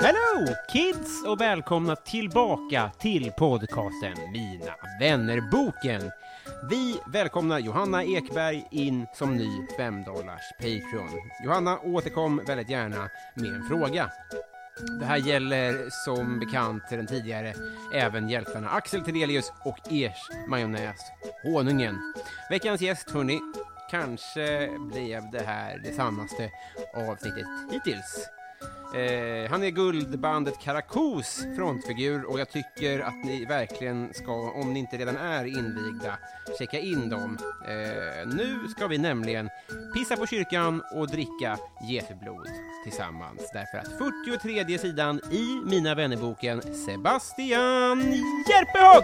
Hello kids och välkomna tillbaka till podcasten Mina vännerboken. Vi välkomnar Johanna Ekberg in som ny 5 Patreon. Johanna återkom väldigt gärna med en fråga. Det här gäller som bekant den tidigare även hjältarna Axel Tedelius och ers majonnäs Honungen. Veckans gäst hörni, kanske blev det här det sannaste avsnittet hittills. Eh, han är guldbandet Karakos frontfigur och jag tycker att ni verkligen ska, om ni inte redan är invigda, checka in dem. Eh, nu ska vi nämligen pissa på kyrkan och dricka Jesu blod tillsammans. Därför att 43 sidan i Mina vännerboken Sebastian Järpehag!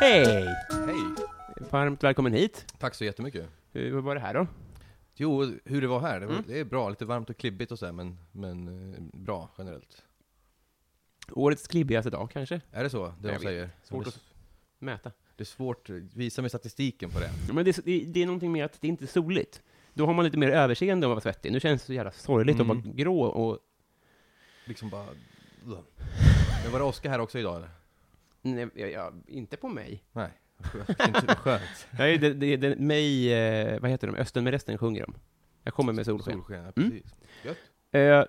Hej! Hej! Varmt välkommen hit. Tack så jättemycket. Hur var det här då? Jo, hur det var här, det, Mm. var, det är bra. Lite varmt och klibbigt och så här, men, men eh, bra generellt. Årets klibbigaste dag kanske? Är det så? Det Jag de vet. säger? Svårt det, att mäta. det är svårt, visa mig statistiken på det. Ja, Men det, är- det, är- det är någonting med att det inte är soligt. Då har man lite mer överseende om att vara svettig. Nu känns det så jävla sorgligt att vara grå och... Liksom bara... Ugh. Men var det åska här också idag eller? Nej, jag, jag, inte på mig. Nej, vad skönt. Inte vad skönt. Nej, det, det, det, mig, eh, vad heter de? Östen med resten sjunger de. Jag kommer med solsken. Mm. Solsken, ja, precis. Gött. Eh,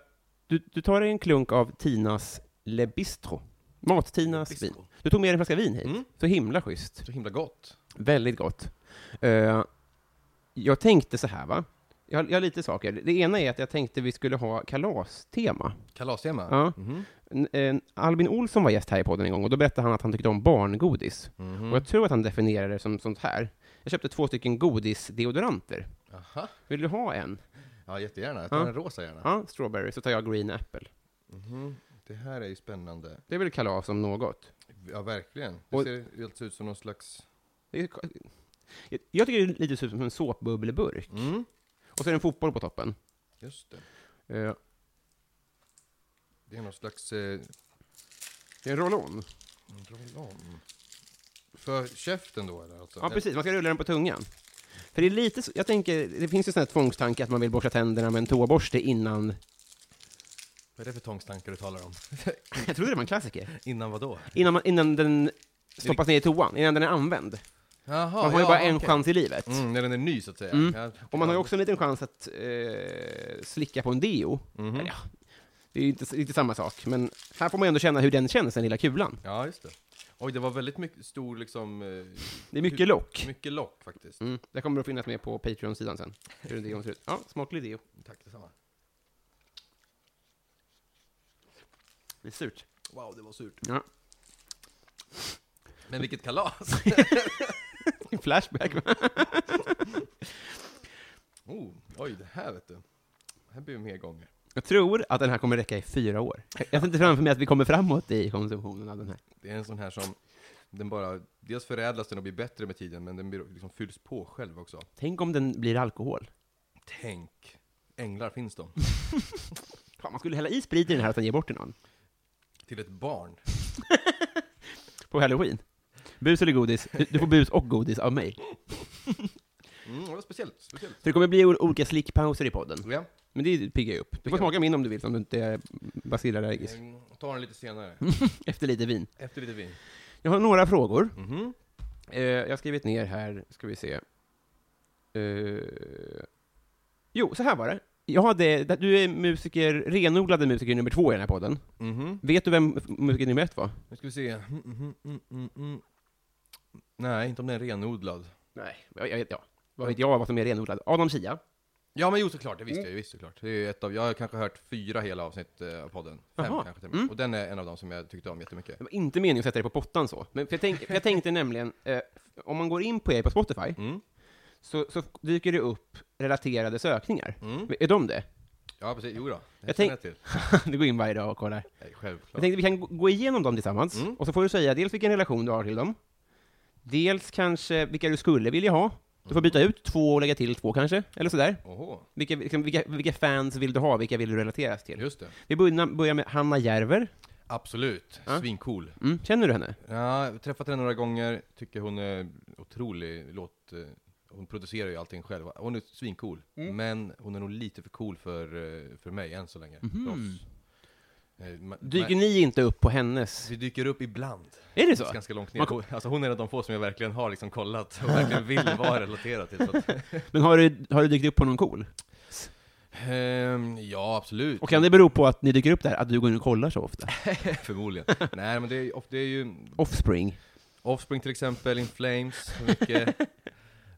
du, du tar dig en klunk av Tinas Le Bistro. Mat-Tinas Le Bistro. vin. Du tog med dig en flaska vin hit. Mm. Så himla schysst. Så himla gott. Väldigt gott. Eh, jag tänkte så här, va? Jag har, jag har lite saker. Det ena är att jag tänkte vi skulle ha kalastema. Kalastema. Ja. Mhm. N- eh, Albin Olsson var gäst här i podden en gång och då berättade han att han tyckte om barngodis. Och jag tror att han definierade det som sånt här. Jag köpte två stycken godisdeodoranter. Aha. Vill du ha en? Ja, jättegärna. Jag tar Ja. den rosa gärna. Ja, strawberry, så tar jag green apple. Det här är ju spännande. Det är väl kalas om något. Ja, verkligen. Det Och- ser ju alltså ut som någon slags... Det är, jag, jag tycker det är lite som en såpbubbleburk. Mm. Och så är det en fotboll på toppen. Just det. Eh, Det är någon slags... Eh, det är en roll-on. Roll-on. För käften då eller? Alltså, Ja, precis. Man ska rulla den på tungan. För det är lite så, jag tänker, det finns ju sån här tvångstanke att man vill borsta tänderna med en toaborste innan... Vad är det för tvångstankar du talar om? Jag trodde det var en klassiker. Innan vad då? Innan, man, innan den stoppas ner i toan, innan den är använd. Jaha, Man har ju bara en chans i livet. Mm, när den är ny så att säga. Mm. Ja, Och man har ju också en liten chans att eh, slicka på en deo. Mhm. Eller ja, det är ju inte riktigt samma sak, men här får man ju ändå känna hur den känns, den lilla kulan. Ja, just det. Oj, det var väldigt mycket stor liksom... eh, Det är mycket lock. Mycket lock faktiskt. Mm. Det kommer att finnas med på Patreon-sidan sen, hur den deon ser ut. Ja, smaklig deo. Mm, Tack detsamma. Det är surt. Wow, det var surt. Ja. Men vilket kalas! Flashback, va? oh, oj, det här vet du. Det här blir ju mer gånger. Jag tror att den här kommer räcka i fyra år. Jag ser inte framför mig att vi kommer framåt i konsumtionen av den här. Det är en sån här som... Den bara... Dels förädlas den och blir bättre med tiden, men den blir, liksom fylls på själv också. Tänk om den blir alkohol. Tänk! Änglar finns de. Fan, man skulle hälla i sprit i den här och sen ge bort till någon. Till ett barn. På halloween. Bus eller godis? Du, du får bus och godis av mig. Mm, det var speciellt. speciellt. Så det kommer bli ol- olika slickpauser i podden. Ja. Men det piggar ju upp. Du får smaka min om du vill, om du inte är basillallergisk. Mm, Ta den lite senare. Mm. Efter lite vin. Efter lite vin. Mhm, Jag har några frågor. Eh, jag har skrivit ner här, ska vi se. Eh, jo, så här var det. Jag hade, du är musiker, renodlade musiker nummer två i den här podden. Vet du vem f- musiker nummer ett var? mhm. Nu ska vi se. Mm, mm, mm, mm, mm. Nej, inte om den är renodlad. Nej. Jag, jag, ja. Vad vet jag vad som är renodlad? Adam Sia. Ja men jo såklart, det visste jag ju visst såklart. Det är ju ett av, jag har kanske hört fyra hela avsnitt eh, av podden. Fem Jaha. Mm. kanske till och med. Och den är en av dem som jag tyckte om jättemycket. Det var inte meningen att sätta dig på pottan så. Men för jag, tänk, för jag tänkte nämligen, eh, om man går in på er på Spotify, Mm. så, så dyker det upp relaterade sökningar. Är de det? Ja precis, jo då. Det Jag känner tänk- till. du går in varje dag och kollar. Nej, Jag självklart. tänkte vi kan gå- gå igenom dem tillsammans, och så får du säga dels vilken relation du har till dem, dels kanske vilka du skulle vilja ha. Du får byta ut två och lägga till två kanske, eller sådär. Oho, Vilka, liksom, vilka, vilka fans vill du ha, vilka vill du relateras till? just det. Vi börjar börjar med Hanna Järver. Absolut, svincool. Mm. Känner du henne? Ja, jag har träffat henne några gånger, tycker hon är otrolig låt... eh, Hon producerar ju allting själv. Hon är svincool. Mm. Men hon är nog lite för cool för, eh, för mig än så länge. För oss. Eh, ma- Mhm. Dyker ma- ni inte upp på hennes? Vi dyker upp ibland. Är det så? Ganska långt Man ner. Alltså hon är en av de få som jag verkligen har liksom kollat och verkligen vill vara relaterad till. Så att, Men har du, har du dykt upp på någon cool? Ehm, ja, absolut. Och kan det bero på att ni dyker upp där, att du går in och kollar så ofta? Förmodligen. Nej, men det är, of- det är ju Offspring. Offspring till exempel, In Flames, så mycket.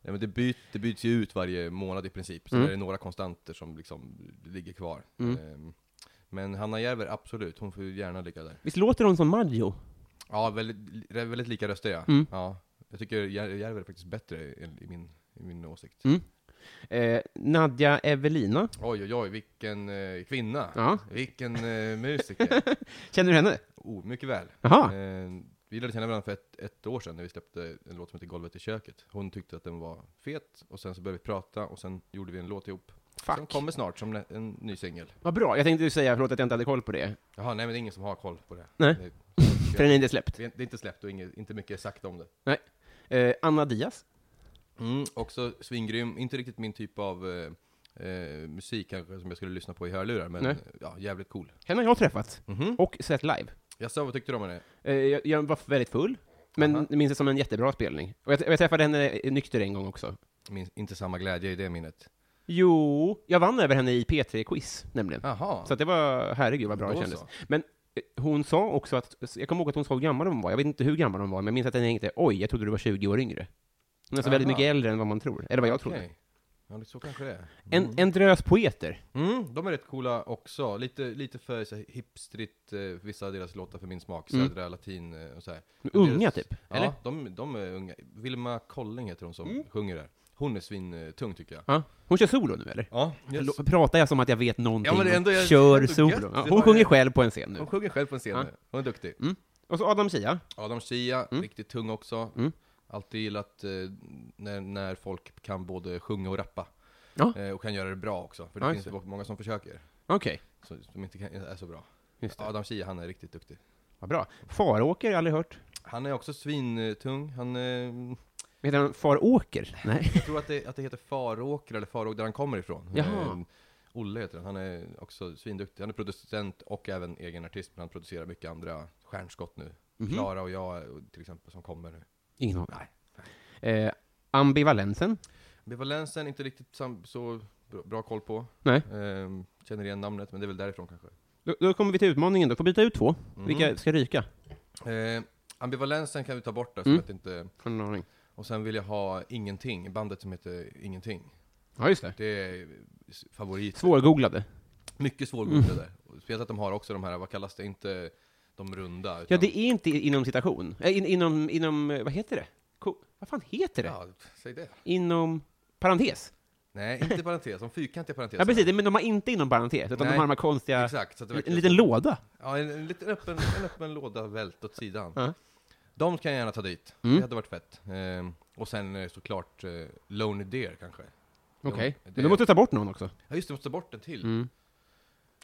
Nej, men det, byt, det byts ju ut varje månad i princip, så Mm. är det några konstanter som liksom ligger kvar. Ehm, men Hanna Järver, absolut, hon får ju gärna ligga där. Visst låter hon som Maggio? Ja, väldigt, re- väldigt lika röster ja. Mm. ja. Jag tycker Jär- Järver är faktiskt bättre i, i, min, i min åsikt. Mm. Eh, Nadja Evelina. Oj, oj, oj, vilken eh, kvinna! Ja. Vilken eh, musiker! Känner du henne? Oh, mycket väl. Jaha. Eh, vi lärde känna varandra för ett, ett år sedan när vi släppte en låt som heter Golvet i köket. Hon tyckte att den var fet, och sen så började vi prata, och sen gjorde vi en låt ihop. Som Fuck. kommer snart som en, en ny singel. Vad bra. Jag tänkte ju säga, förlåt att jag inte hade koll på det. Jaha, nej men det är ingen som har koll på det. Nej. Det, För den är inte släppt. det är inte släppt och inget, inte mycket sagt om det. Nej. Eh, Anna Diaz. Mm, också svingrym, inte riktigt min typ av eh, eh, musik kanske som jag skulle lyssna på i hörlurar, men Nej. ja, jävligt cool. Henne har jag träffat. Och sett live. Jag sa vad tyckte du om henne? Eh, jag, jag var väldigt full. Men Aha. minns det som en jättebra spelning. Och jag, jag träffade henne eh, nykter en gång också. Min, inte samma glädje i det minnet. Jo, jag vann över henne i P3-quiz, nämligen. Jaha. Så att det var, herregud vad bra det Då kändes. så. Men eh, hon sa också att, jag kommer ihåg att hon sa hur gammal hon var, jag vet inte hur gammal hon var, men jag minns att jag tänkte, oj, jag trodde du var 20 år yngre. Hon är alltså väldigt Aha. mycket äldre än vad man tror, eller vad jag trodde. Okej. Mm. Ja, det- så kanske det är. En, en drös poeter. Mm, de är rätt coola också. Lite, lite för så här, hipstrigt, eh, vissa av deras låtar för min smak, södra latin eh, och så här. Men Mm. unga typ, Ja, eller? Mm. De, de är unga. Vilma Kolling heter hon som sjunger där. Hon är svintung tycker jag. Ja. Hon kör solo nu eller? Ja, yes. Lo- Pratar jag som att jag vet någonting? Ja, men det är ändå- och jag- kör ändå solo. gött. Ja, Det Hon var- sjunger själv på en scen nu. hon sjunger själv på en scen Ja. Mm. nu. Hon är duktig. Och så Adam Sia. Adam Sia, Mm. riktigt tung också. Alltid gillat eh, när, när folk kan både sjunga och rappa. Ja. Eh, och kan göra det bra också, för det Ja, finns just ju många som försöker. Okej, Som, som inte kan, är så bra. Just det. Adam Sia, han är riktigt duktig. vad bra. Faråker, jag har aldrig hört. Han är också svintung, han... Eh, Heter han Faråker? Nej. Jag tror att det, att det heter Faråker, eller Faråker där han kommer ifrån. Jaha. Eh, Olle heter han, han är också svinduktig. Han är producent och även egen artist, men han producerar mycket andra stjärnskott nu. Klara och jag eh, till exempel, som kommer nu. Ingen aning. Eh, ambivalensen? Ambivalensen, inte riktigt sam- så bra, bra koll på. Nej. Ehm, känner igen namnet, men det är väl därifrån kanske. Då, då kommer vi till utmaningen då, får byta ut två. Mm. Vilka ska ryka? Eh, ambivalensen kan vi ta bort där, för att inte... Från en aning. Och sen vill jag ha Ingenting, bandet som heter Ingenting. Ja, just det. Det är s- favorit. Svårgooglade. Mycket Mm. svårgooglade. Och Speciellt att de har också de här, vad kallas det, inte de runda. Ja, utan- det är inte inom citation. Eh, In, inom, inom, eh, vad heter det? Ko- vad fan heter det? Ja, säg det. Inom parentes? Nej, inte parentes, de fyrkantiga parenteser. Ja, precis. Men de har inte inom parentes, utan de Nej. har de här konstiga... Exakt, så att det en verkligen- liten låda. Ja, en, en liten öppen, en öppen låda vält åt sidan. Ja. Mm. De kan jag gärna ta dit, det hade varit fett. Ehm, och sen eh, såklart eh, Lonely Deer kanske. Okej. det- Men då måste du ta bort någon också. Mm. Ja just det, måste ta bort den till.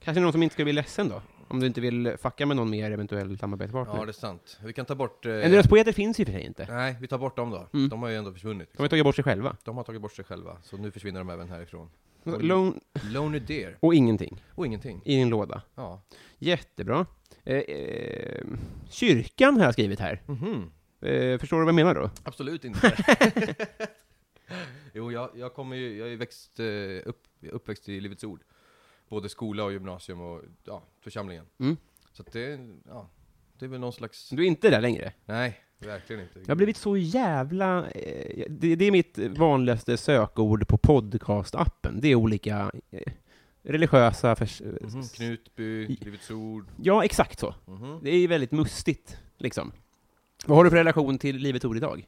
Kanske någon som inte ska bli ledsen då? Om du inte vill fucka med någon mer eventuell samarbetspartner. Ja, det är sant. Vi kan ta bort... eh, En Mm. deras poeter finns ju för sig inte. Nej, vi tar bort dem då. De har ju ändå försvunnit. De har ju tagit bort sig själva. De har tagit bort sig själva, så nu försvinner de även härifrån. Och- Lone... Lonely Deer. Och ingenting Och ingenting. i din låda. Ja. Jättebra. Eh, eh, kyrkan har jag skrivit här. Mhm. Eh, förstår du vad jag menar då? Absolut inte. jo, jag, jag kommer ju, jag är växt, eh, upp, jag är uppväxt i Livets Ord. Både skola och gymnasium och ja, församlingen. Mm. Så att det, ja, det är väl någon slags... Du är inte där längre. Nej, verkligen inte. Jag har blivit så jävla... Eh, det, det är mitt vanligaste sökord på podcastappen. Det är olika eh, religiösa... Förs- eh, Mhm. Knutby, Livets Ord. Ja, exakt så. Mhm. Det är ju väldigt mustigt, liksom. Vad har du för relation till Livets Ord idag?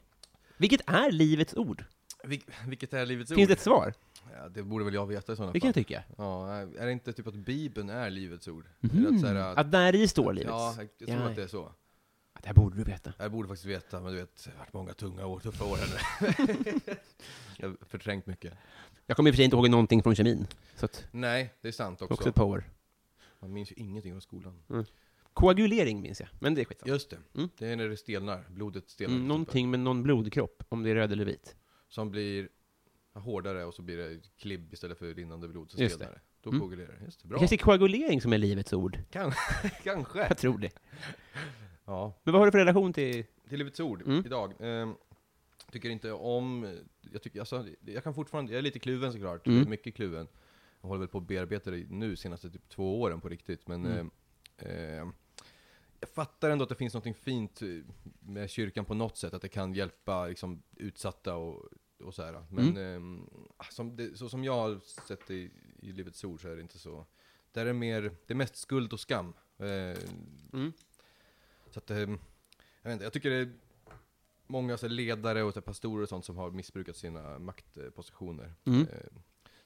Vilket är Livets Ord? Vil, vilket är Livets Finns det Ord? ett svar? Ja, det borde väl jag veta i sådana Det kan fall. jag tycka. Ja, är det inte typ att Bibeln är Livets Ord? Eller att, så här, Mm-hmm. att, Mhm. Att där i står Livets. ja, jag, jag tror Ja. att det är så. Det här borde du veta. Jag borde faktiskt veta, men du vet, det har varit många tunga år, tuffa år här nu. jag har förträngt mycket. Jag kommer i och för sig inte ihåg någonting från kemin. Så att, Nej, det är sant också. också ett par år. Man minns ju ingenting från skolan. Koagulering minns jag, men det är skitsamma. Just det, Mm. det är när det stelnar, blodet stelnar. Mm, någonting med någon blodkropp, om det är röd eller vit. Som blir hårdare och så blir det klibb istället för rinnande blod, så Just stelnar det. Då Mm. koagulerar det. Just det, Det bra. kanske är koagulering som är Livets Ord. Kan- Kanske. Jag tror det. Ja. Men vad har du för relation till... till Livets Ord Mm. idag. Ehm, tycker inte om, jag, tycker, alltså, jag kan fortfarande, jag är lite kluven såklart, Mm. mycket kluven. Jag håller väl på att bearbeta det nu senaste typ två åren på riktigt, men Mm. ehm, ehm, jag fattar ändå att det finns något fint eh, med kyrkan på något sätt, att det kan hjälpa liksom, utsatta och, och så här. Mm. Men ehm, som det, så som jag har sett det i, i Livets Ord så är det inte så. Där är mer, det är mest skuld och skam. Eh, Mm. så att, eh, jag vet inte, jag tycker det är många så här, ledare och så här, pastorer och sånt som har missbrukat sina maktpositioner. Mm. Eh,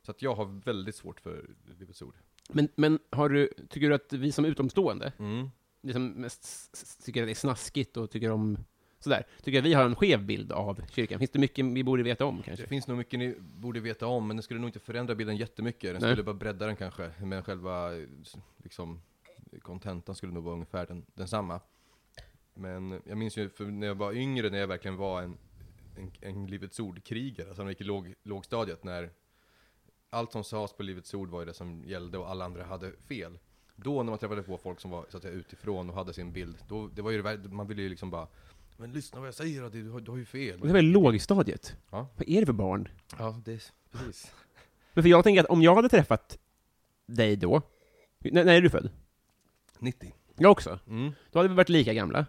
Så att jag har väldigt svårt för Livets Ord. Men, men har du, tycker du att vi som utomstående, Mm. vi som mest s- s- tycker att det är snaskigt och tycker om sådär, tycker att vi har en skev bild av kyrkan? Finns det mycket vi borde veta om Det kanske? finns nog mycket ni borde veta om, men den skulle nog inte förändra bilden jättemycket. Den Nej. skulle bara bredda den kanske, men själva eh, s- liksom, kontentan skulle nog vara ungefär den, densamma. Men jag minns ju för när jag var yngre, när jag verkligen var en, en, en Livets Ord-krigare, alltså när jag gick i låg, lågstadiet, när allt som sades på Livets Ord var ju det som gällde och alla andra hade fel. Då när man träffade på folk som var så att säga, utifrån och hade sin bild, då, det var ju, det vär- man ville ju liksom bara Men lyssna vad jag säger, då, du, har- du har ju fel. Det är väl lågstadiet? Ja. Vad är det för barn? Ja, det, är- precis. Men för jag tänker att om jag hade träffat dig då, när, när är du född? 90. Jag också. Mm. Då hade vi varit lika gamla.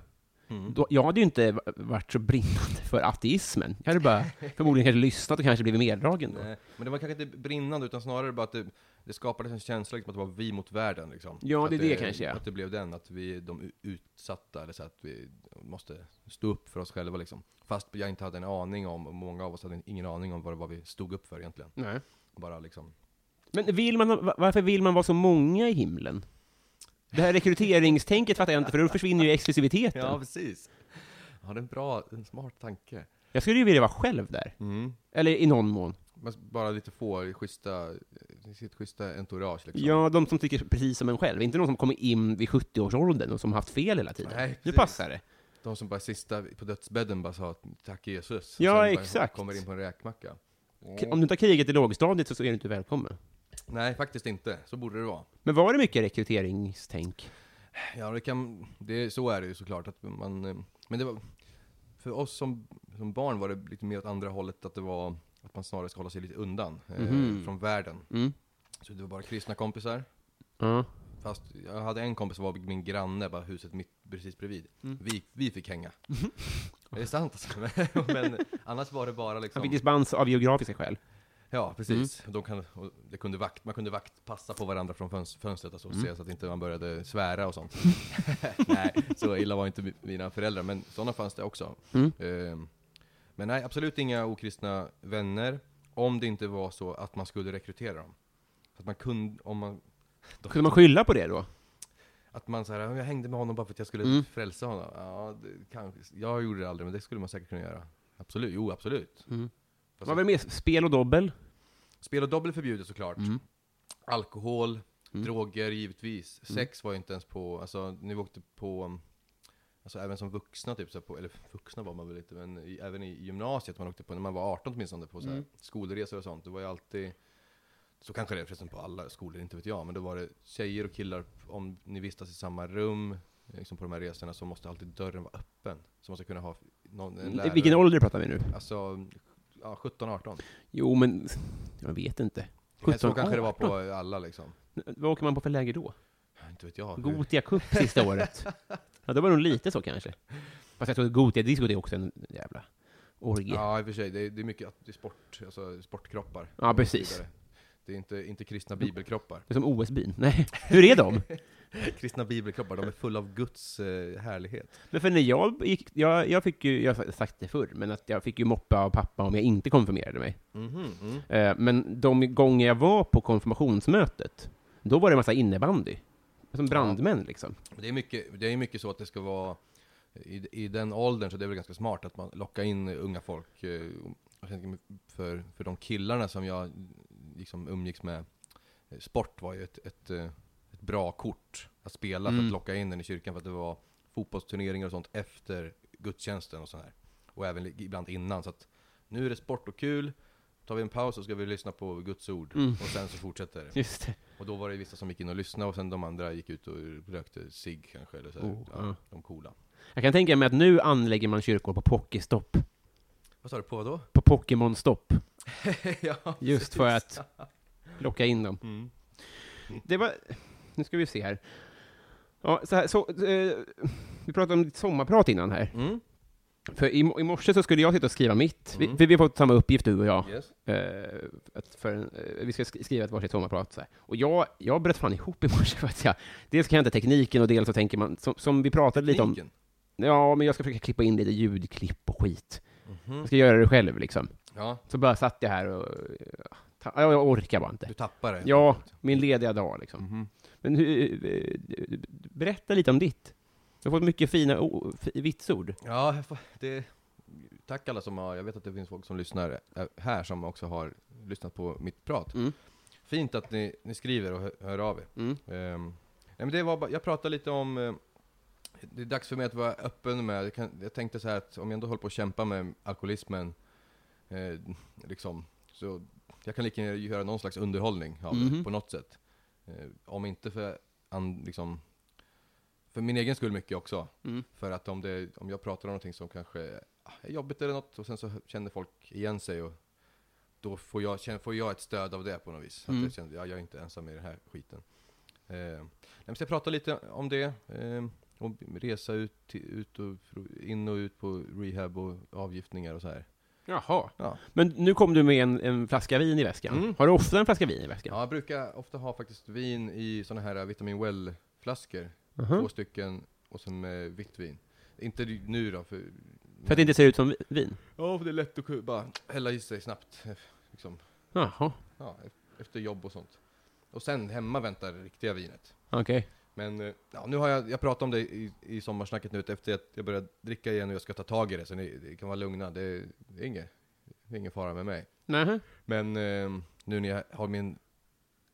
Mm. Då, jag hade ju inte va- varit så brinnande för ateismen. Jag hade bara förmodligen kanske lyssnat och kanske blivit meddragen då. Nej, Eh, men det var kanske inte brinnande utan snarare bara att det, det skapades en känsla liksom, att det var vi mot världen liksom. Ja, Att det är det kanske, ja. Att det blev den, att vi är de u- utsatta, eller så att vi måste stå upp för oss själva liksom. Fast jag inte hade en aning om, och många av oss hade ingen aning om vad det var vi stod upp för egentligen. Nej. Bara liksom. Men vill man, va- varför vill man vara så många i himlen? Det här rekryteringstänket fattar jag inte, för då försvinner ju exklusiviteten. precis. Ja, det är en bra, en smart tanke. Jag skulle ju vilja vara själv där. Mm. Eller i någon mån. Men bara lite få, schyssta, sitt schyssta entourage liksom. Ja, de som tycker precis som en själv. Inte någon som kommer in vid 70-årsåldern och som haft fel hela tiden. Nej, nu precis. passar det. De som bara sista på dödsbädden bara sa tack Jesus. Ja, bara exakt. kommer in på en räkmacka. K- Om du tar kriget i lågstadiet så- så är du inte välkommen. Nej, faktiskt inte. Så borde det vara. Men var det mycket rekryteringstänk? Ja, det kan, det, så är det ju såklart. Att man, eh, men det var, för oss som, som barn var det lite mer åt andra hållet, att det var att man snarare ska hålla sig lite undan eh, Mhm. från världen. Mm. Så det var bara kristna kompisar. Ja. Fast jag hade en kompis som var min granne, bara huset mitt precis bredvid. Mm. Vi, vi fick hänga. Mhm. Det är sant alltså. Men, men annars var det bara liksom... Han fick dispens av geografiska skäl. Ja, precis. De kan, och det kunde vakt, man kunde vakt passa på varandra från föns- fönstret alltså, och se så att inte man började svära och sånt. nej, så illa var inte mi- mina föräldrar, men sådana fanns det också. Ehm, men nej, absolut inga okristna vänner, om det inte var så att man skulle rekrytera dem. Att man kunde, om man, Kunde man skylla på det då? Alltså- att man så här, jag hängde med honom bara för att jag skulle frälsa honom. Ja, det, kanske, jag gjorde det aldrig, men det skulle man säkert kunna göra. Absolut, jo absolut. Man var med spel och dobbel? Mm. Spel och dobbel förbjudet såklart. Alkohol, Droger givetvis. Mm. Sex var ju inte ens på, alltså när vi åkte på, um, alltså även som vuxna typ, så här på, eller vuxna var man väl inte, men i, även i gymnasiet man åkte på, när man var 18 åtminstone, på så här, Mm. skolresor och sånt, det var ju alltid så kanske det är förresten på alla skolor, inte vet jag, men då var det tjejer och killar, om ni vistas i samma rum, liksom på de här resorna, så måste alltid dörren vara öppen. Så man ska kunna ha någon, en lärare. Vilken ålder pratar vi nu? Alltså, ja, 17-18. Jo, men jag vet inte. Så kanske det var på alla liksom. Vad åker man på för läger då? Inte vet jag. hur- Gotia Cup sista året. Ja, det var nog lite så kanske. Fast jag tror att Gotia Disco det är också en jävla orgie. Ja, i och för sig. Det är, det är mycket att- det är sport, alltså sportkroppar. Ja, och precis. så vidare. Det är inte, inte kristna bibelkroppar. Det är som OS-byn. Nej, hur är de? Kristna bibelkroppar, de är fulla av Guds eh, härlighet. Men för när jag gick, jag, jag fick ju, jag har sagt det förr, men att jag fick ju moppa av pappa om jag inte konfirmerade mig. Mhm, Eh, Men de gånger jag var på konfirmationsmötet, då var det en massa innebandy. Som brandmän liksom. Det är mycket, det är mycket så att det ska vara, i, i den åldern så det är väl ganska smart att man lockar in unga folk. eh, jag tänker mig För, för de killarna som jag liksom umgicks med, eh, sport var ju ett, ett, eh, ett bra kort att spela för att locka in den i kyrkan för att det var fotbollsturneringar och sånt efter gudstjänsten och sånt här. Och även li- ibland innan. Så att nu är det sport och kul, tar vi en paus så ska vi lyssna på Guds ord och sen så fortsätter det. Just det. Och då var det vissa som gick in och lyssnade och sen de andra gick ut och rökte cigg kanske, eller så här, Oh, ja, ja. de coola. Jag kan tänka mig att nu anlägger man kyrkor på Pokéstopp. Vad sa du, på då? På Pokémon-stopp. ja, Mm. Just för att locka in dem. Det var... Nu ska vi se här. Ja, så här så, eh, vi pratade om ditt sommarprat innan här. Mm. För i, mo- i morse så skulle jag sitta och skriva mitt. Vi, vi, vi har fått samma uppgift du och jag. Yes. Eh, att för, en- eh, vi ska sk- skriva ett varsitt sommarprat. Så här. Och jag, jag bröt fan ihop i morse för att jag... Dels kan jag inte tekniken och dels så tänker man, som, som vi pratade lite om... Tekniken. Ja, men jag ska försöka klippa in lite ljudklipp och skit. Mm. Jag ska göra det själv liksom. Mhm. Ja, Så bara satt jag här och... eh, ta- ja, Jag orkar bara inte. du tappar det. Mhm. Ja, min lediga dag liksom. Men hur, eh, berätta lite om ditt. Du har fått mycket fina o- f- vitsord. Ja, jag får- det... Tack alla som har, jag vet att det finns folk som lyssnar eh, här som också har lyssnat på mitt prat. Mm. Fint att ni, ni skriver och hör, hör av er. Ehm, nej men det var bara, jag pratade lite om, eh, det är dags för mig att vara öppen med, jag, kan, jag tänkte så här att om jag ändå håller på att kämpa med alkoholismen, eh, liksom, så jag kan lika gärna göra någon slags underhållning av det, på något sätt. Eh, om inte för, an, liksom, för min egen skull mycket också. För att om, det, om jag pratar om någonting som kanske ah, är jobbigt eller något och sen så känner folk igen sig och då får jag, känner- får jag ett stöd av det på något vis. Att jag känner, ja, jag är inte ensam i den här skiten. Eh, nej, men så jag pratar lite om det. Eh, om resa ut, till- ut och fro- in och ut på rehab och avgiftningar och så här. Jaha. Mm. Ja. Men nu kom du med en, en flaska vin i väskan. Har du ofta en flaska vin i väskan? Ja, jag brukar ofta ha faktiskt vin i såna här Vitamin Well-flaskor. Två stycken och sen med vitt vin. Inte nu då, för... För att det inte ser ut som vi- vin? Ja, för det är lätt att ku- bara hälla i sig snabbt. eh, Liksom. Jaha. Ja, e- efter jobb och sånt. Och sen hemma väntar det riktiga vinet. Okej. Men eh, ja, nu har jag, jag pratat om det i, i sommarsnacket nu efter att jag började dricka igen och jag ska ta tag i det. Så ni, ni kan vara lugna, det är, det är inget, det är ingen fara med mig. Nähä. Men eh, nu när jag har min...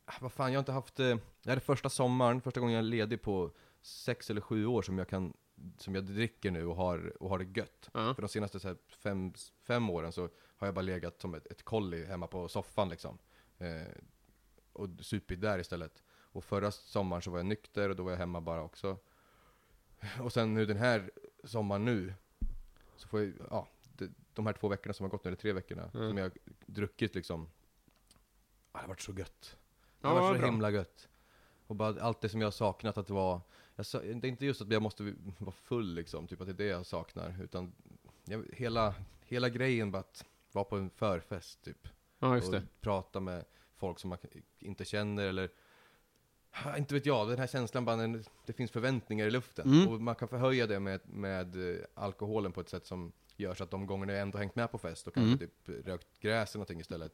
Ah, Vad fan, jag har inte haft... Eh, det här är första sommaren, första gången jag är ledig på sex eller sju år som jag kan... Som jag dricker nu och har, och har det gött. För de senaste så här, fem, fem åren så har jag bara legat som ett, ett kolli hemma på soffan liksom. Eh, och supit där istället. Och förra sommaren så var jag nykter och då var jag hemma bara också. Och sen nu den här sommaren nu, så får jag, ja, de, de här två veckorna som har gått nu, eller tre veckorna, Mm. som jag har druckit liksom. Ah, det har varit så gött. Det har Ja, varit så bra. himla gött. Och bara allt det som jag har saknat att vara, jag, sa- det är inte just att jag måste vara full liksom, typ att det är det jag saknar, utan jag, hela, hela grejen bara att vara på en förfest typ. Ja, just och det. prata med folk som man inte känner eller Ah, Inte vet jag, den här känslan bara, när det finns förväntningar i luften. Mm. Och man kan förhöja det med, med eh, alkoholen på ett sätt som gör så att de gångerna jag ändå hängt med på fest och kanske Mm. typ rökt gräs eller någonting istället.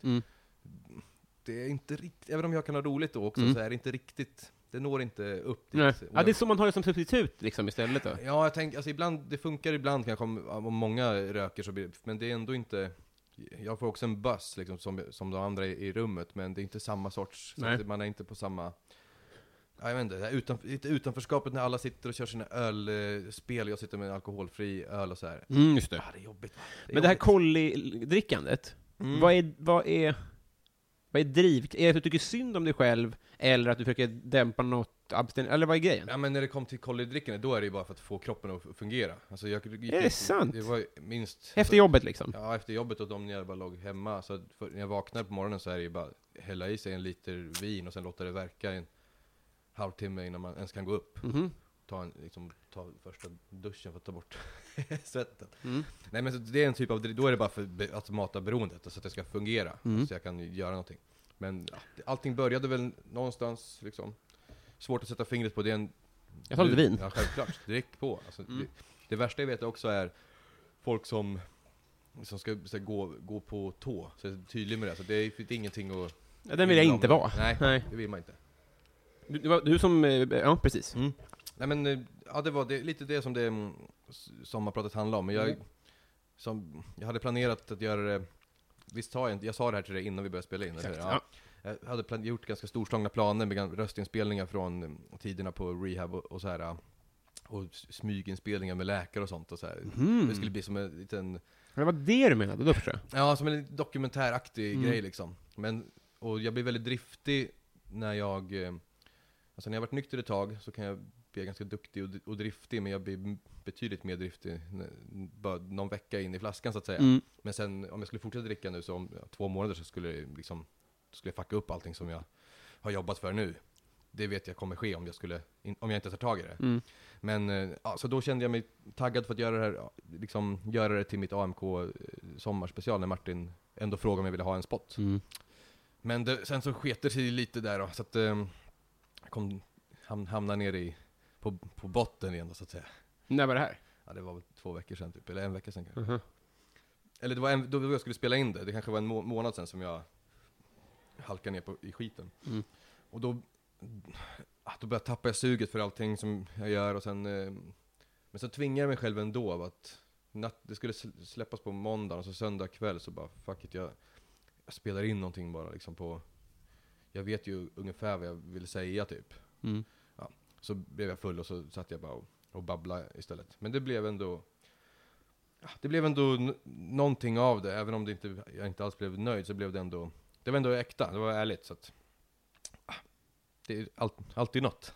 Det är inte riktigt, även om jag kan ha roligt då också, så är det inte riktigt, det når inte upp dit. Mm. Nej. Och Ja, det är jag- så man har det som substitut liksom istället då? Ja, jag tänker, alltså ibland, det funkar ibland kanske om, om många röker så blir men det är ändå inte jag får också en buzz liksom, som, som de andra i, i rummet, men det är inte samma sorts, så Nej. att man är inte på samma... Ja, jag vet inte, det här utanf lite utanförskapet när alla sitter och kör sina ölspel, jag sitter med en alkoholfri öl och så här. Mm, just det. Ja, det är jobbigt. va? är Men det Mm. här jobbigt. kolli-drickandet, vad, är, vad, är, vad är driv... Är det att du tycker synd om dig själv, eller att du försöker dämpa något abstin... Eller vad är grejen? Ja men när det kom till kollidrickande, då är det ju bara för att få kroppen att fungera. Alltså jag gick Är det sant? Det var ju minst... Efter jobbet liksom? Ja, efter jobbet och de när jag bara låg hemma. Så att för, när jag vaknar på morgonen så är det ju bara hälla i sig en liter vin och sen låta det verka i en halvtimme innan man ens kan gå upp. Ta, en, liksom, ta första duschen för att ta bort svetten. Mm. Nej men så det är en typ av, då är det bara för be- att mata beroendet, så att det ska fungera. Mm. Så jag kan göra någonting. Men ja, det- allting började väl någonstans liksom. Svårt att sätta fingret på det. är En, Jag tar lite du- vin. Mm. Ja, självklart. Drick på. Alltså, det, det värsta jag vet också är folk som, som ska så här, gå, gå på tå. Så jag är tydlig med det. Så det är, det är ingenting att... Ja, den vill jag inte vara. Nej, Nej. det vill man inte. Du, det var du som... eh, Ja, precis. Nej men, eh, ja det var det, lite det som det mm, s- sommarpratet handlade om. Men jag, som, jag hade planerat att göra det, visst sa jag inte, jag sa det här till dig innan vi började spela in, eller hur? Ja. Jag hade plan, gjort ganska storslagna planer med gan- röstinspelningar från mm, tiderna på rehab och, och så här. eh, Och s- smyginspelningar med läkare och sånt och så här. Det skulle bli som en liten, Det var det du menade, då förstår jag. ja som en liten dokumentäraktig grej liksom. Men, och jag blir väldigt driftig när jag, eh, alltså när jag har varit nykter ett tag så kan jag bli ganska duktig och, och driftig, men jag blir m- betydligt mer driftig när, bara någon vecka in i flaskan så att säga. Men sen om jag skulle fortsätta dricka nu så om ja, två månader så skulle det liksom, skulle jag fucka upp allting som jag har jobbat för nu. Det vet jag kommer ske om jag, skulle, in, om jag inte tar tag i det. Men eh, ja, så då kände jag mig taggad för att göra det här, ja, liksom göra det till mitt AMK eh, sommarspecial när Martin ändå frågade om jag ville ha en spot. Men det, sen så sket det sig lite där då, så att eh, jag kom, ham, hamnade ner i, på, på botten igen då, så att säga. När var det här? Ja, det var väl två veckor sedan typ, eller en vecka sedan kanske. Eller det var en, då jag skulle spela in det, det kanske var en må månad sedan som jag halkade ner på, i skiten. Och då, ah, då började jag tappa suget för allting som jag gör och sen, eh, men så tvingade jag mig själv ändå av att natt, det skulle sl- släppas på måndag och så söndag kväll så bara fuck it, jag, jag spelar in någonting bara liksom på, jag vet ju ungefär vad jag vill säga typ. Ja, så blev jag full och så satt jag bara och, och babblade istället. Men det blev ändå ja, det blev ändå n- någonting av det, även om det inte, jag inte alls blev nöjd så blev det ändå Det var ändå äkta, det var ärligt så att ah, Det är all, alltid något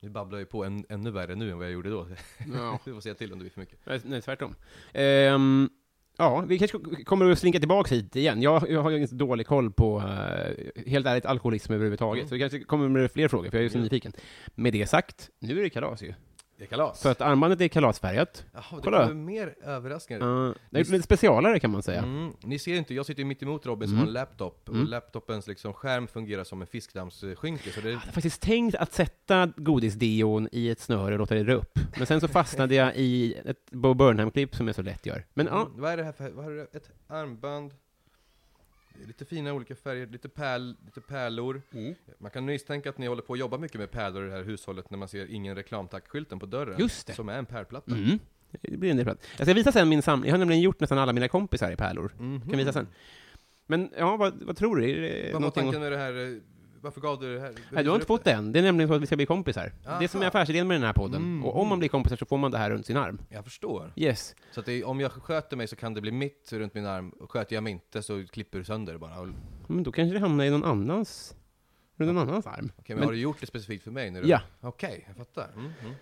Nu babblar jag ju på än, ännu värre nu än vad jag gjorde då Ja. Du får säga till om det blir för mycket Nej, nej, tvärtom. Ehm, ja, vi kanske kommer att slinka tillbaka hit igen. Jag, jag har ju inte dålig koll på, eh, helt ärligt, alkoholism överhuvudtaget. Så vi kanske kommer med fler frågor, för jag är ju så nyfiken. Med det sagt, nu är det kalas ju. Det är kalas! För att armbandet är kalasfärgat. Jaha, det Kolla. kommer mer överraskningar Eh, det är lite specialare kan man säga. Mm, ni ser inte, jag sitter ju mitt emot Robin som har en laptop och laptopens liksom skärm fungerar som en fiskdammsskynke så det Jag hade faktiskt tänkt att sätta godisdeon i ett snöre och låta det dra upp. Men sen så fastnade jag i ett Bo Burnham-klipp som jag så lätt gör. Men ja, Mm, Vad är det här för, vad är det, ett armband? Det är Lite fina olika färger, lite, pärl, lite pärlor. Mm. Man kan misstänka att ni håller på att jobba mycket med pärlor i det här hushållet när man ser ingen reklamtackskylten på dörren. Just det. Som är en pärlplatta. Mm. Det blir en del prat. Jag ska visa sen min samling. Jag har nämligen gjort nästan alla mina kompisar i pärlor. Kan visa sen. Men ja, vad, vad tror du? Är det Vad var någonting... tanken med det här? eh, Varför gav du det här? Nej, du har inte fått den. Det är nämligen så att vi ska bli kompisar. Det är som är affärsidén med den här podden. Mm. Och om man blir kompisar så får man det här runt sin arm. Jag förstår. Yes. Så att det, är- om jag sköter mig så kan det bli mitt runt min arm. Och Sköter jag mig inte så klipper du sönder det bara. Och- Okej, Men då kanske det hamnar i någon annans... Runt någon annans arm. men, har du gjort det specifikt för mig? När du... Ja. Okej, jag fattar. Mm, mm.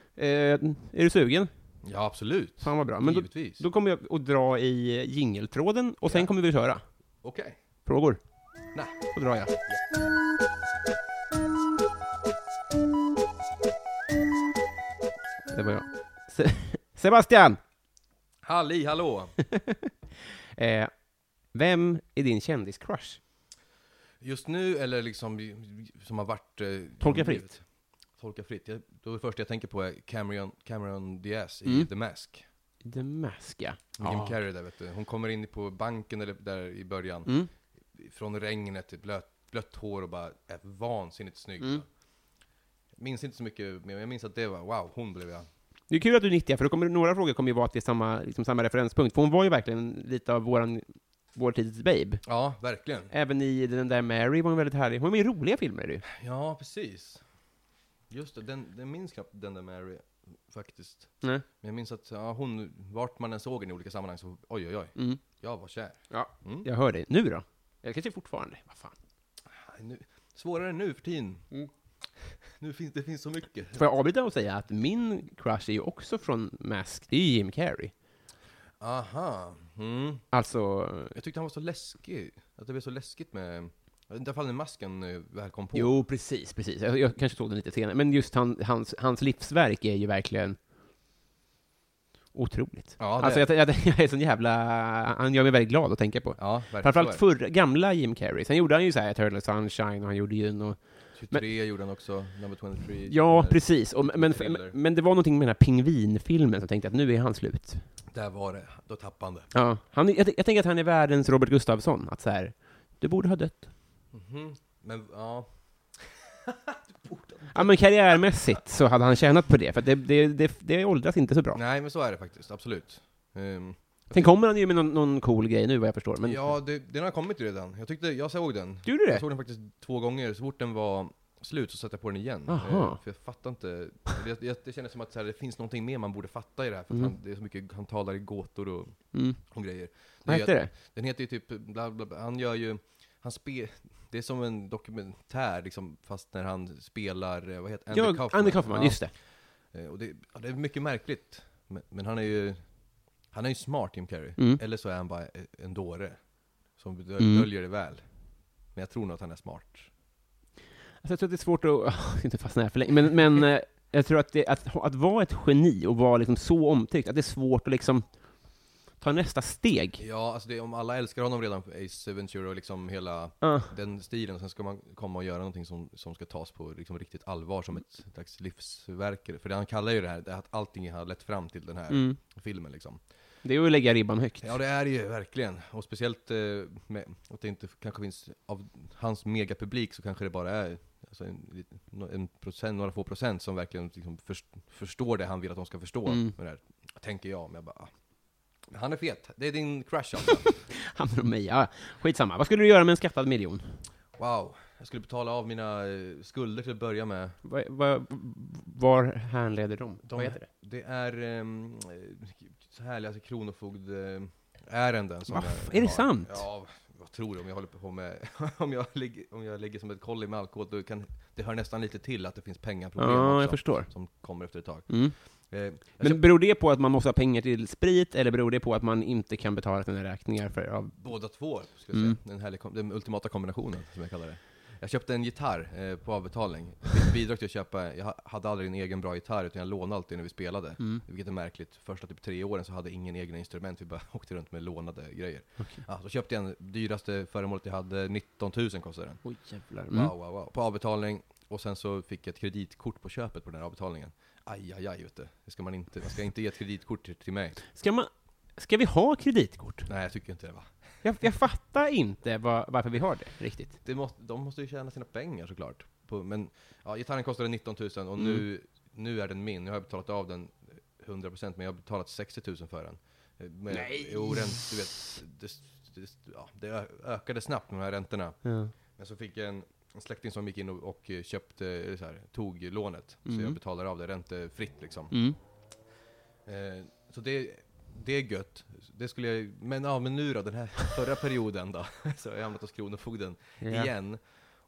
Eh, är du sugen? Ja, absolut. Fan vad bra. Men då, Givetvis. då kommer jag att dra i jingeltråden och sen kommer vi köra. Okej. Frågor. Nej. Då drar jag. Det var jag. Se- Sebastian! Halli hallå! Eh, vem är din kändiscrush? Just nu eller liksom som har varit... Eh, Tolka som fritt. blivit? Tolka fritt. Jag, då är det första jag tänker på är Cameron, Cameron Diaz i The Mask. The Mask, ja. Jim Mm. Ja. Carrey där vet du. Hon kommer in på banken eller där i början. Mm. Från regnet, typ, blött, blött hår och bara är vansinnigt snygg. Mm. Jag minns inte så mycket, men jag minns att det var wow, hon blev jag. Det är kul att du är 90, för då kommer, några frågor kommer ju vara till samma, liksom, samma referenspunkt, för hon var ju verkligen lite av våran, vår tids babe. Ja, verkligen. Även i den där Mary var hon väldigt härlig. Hon var med i roliga filmer, är det ju. Ja, precis. Just det, den, den minns knappt den där Mary faktiskt. Nej. Men jag minns att ja, hon, vart man än såg henne i olika sammanhang så, oj oj oj, Mm. jag var kär. Ja, Mm. jag hör dig. Nu då? Eller kanske fortfarande? Vad fan. Nej, Nu, svårare nu för tiden. Mm. Nu finns, det finns så mycket. Får jag avbryta och säga att min crush är ju också från Mask. Det är ju Jim Carrey. Aha. Mm. Alltså... Jag tyckte han var så läskig. Att det blev så läskigt med... Jag vet inte ifall den masken eh, väl kom på. Jo, precis, precis. Jag, jag kanske såg den lite senare. Men just han, hans, hans livsverk är ju verkligen otroligt. Ja, det alltså, är jag, jag, jag är sån jävla... Han gör mig väldigt glad att tänka på. Ja, verkligen. Framförallt så är det. förr, gamla Jim Carrey. Sen gjorde han ju så här Turtle Sunshine och han gjorde ju no... 23 gjorde han också, number 23. Ja, Där- precis. Och, men, Thriller. men det var någonting med den här pingvinfilmen som tänkte att nu är han slut. Där var det. Då tappade han det. Ja, han, är- jag, jag tänker att han är världens Robert Gustafsson. Att så här, du borde ha dött. Mhm. Men, ja. Ja, men karriärmässigt så hade han tjänat på det, för att det, det, det, det åldras inte så bra. Nej, men så är det faktiskt. Absolut. Ehm, Sen kommer han ju med någon, någon cool grej nu, vad jag förstår. Men Ja, det, den har kommit redan. Jag tyckte, jag såg den. Gjorde du det? Jag såg den faktiskt två gånger. Så fort den var slut så satte jag på den igen. Aha. Eh, För jag fattar inte. Det, det, det kändes som att så här, det finns någonting mer man borde fatta i det här. För att Mm. han, det är så mycket, han talar i gåtor och, mm. och grejer. vad är- hette det? Den heter ju typ bla bla, bla. han gör ju, han spe, det är som en dokumentär liksom, fast när han spelar, eh, vad heter Ja, Andy Kaufman, Ja, just det. Alltså, eh, Och det, ja, det är mycket märkligt, men, men han är ju, han är ju smart Jim Carrey, Mm. eller så är han bara eh, en dåre, som dö- Mm. döljer det väl. Men jag tror nog att han är smart. Alltså, jag tror att det är svårt att, inte fastna här för länge, men, men eh, jag tror att, det, att, att vara ett geni och vara liksom så omtyckt, att det är svårt att liksom ta nästa steg. Ja, alltså det, om alla älskar honom redan, för Ace Ventura och liksom hela Ja. den stilen, sen ska man komma och göra någonting som, som ska tas på liksom riktigt allvar som ett slags livsverk. För han kallar ju det här, det här att allting har lett fram till den här Mm. filmen liksom. Det är ju att lägga ribban högt. Ja det är det ju verkligen, och speciellt eh, med, att det inte kanske finns, av hans megapublik så kanske det bara är alltså en, lit- no- en procent, några få procent som verkligen liksom förs- förstår det han vill att de ska förstå. Mm. Med det här. Tänker jag, men jag bara, ah. Men han är fet, det är din crush alltså. Hamnar om mig, ja. Skitsamma. Vad skulle du göra med en skattad miljon? Wow, jag skulle betala av mina eh, skulder till att börja med. Var, var, var härleder de? De- Vad heter det? Det är ehm, eh, så härliga alltså, kronofogdeärenden som Va, jag är det har. sant? Ja, vad tror du om jag håller på med, om jag ligger, om jag ligger som ett kolli med alkohol, då kan, det hör nästan lite till att det finns pengaproblem Ja, jag också, förstår. som kommer efter ett tag. Mm. Eh, jag Men köpte beror det på att man måste ha pengar till sprit, eller beror det på att man inte kan betala sina räkningar för av... båda två, ska jag Mm. säga. Den, härliga, kom- den ultimata kombinationen, som jag kallar det. Jag köpte en gitarr eh, på avbetalning. Mitt bidrag till att köpa, jag ha- hade aldrig en egen bra gitarr, utan jag lånade alltid när vi spelade. Mm. Vilket är märkligt. Första typ tre åren så hade ingen egna instrument, vi bara åkte runt med lånade grejer. Ja, så köpte jag den dyraste föremålet jag hade, 19 000 kostade den. Oj, jävlar. Mm. Wow, wow, wow. På avbetalning, och sen så fick jag ett kreditkort på köpet på den här avbetalningen. Aj, aj, aj, vet du. Det ska man inte, man ska inte ge ett kreditkort till, till mig. Ska, man, ska vi ha kreditkort? Nej, jag tycker inte det va. Jag, jag fattar inte va- varför vi har det, riktigt. det måste, de måste ju tjäna sina pengar såklart. På, men ja, gitarren kostade 19 000 och Mm. nu, nu är den min. Nu har jag betalat av den 100% men jag har betalat 60 000 för den. Eh, Med, Nej. Jo, den, du vet, det, det, ja, det ö- ökade snabbt med de här räntorna. Ja. Men så fick jag en, en släkting som gick in och, och köpte, eller så här, tog lånet. Så jag betalar av det räntefritt liksom. Mm. Eh, så det, det är gött. Det skulle jag, men, ja, men nu då, den här förra perioden då, så har jag hamnat hos Kronofogden Ja. igen.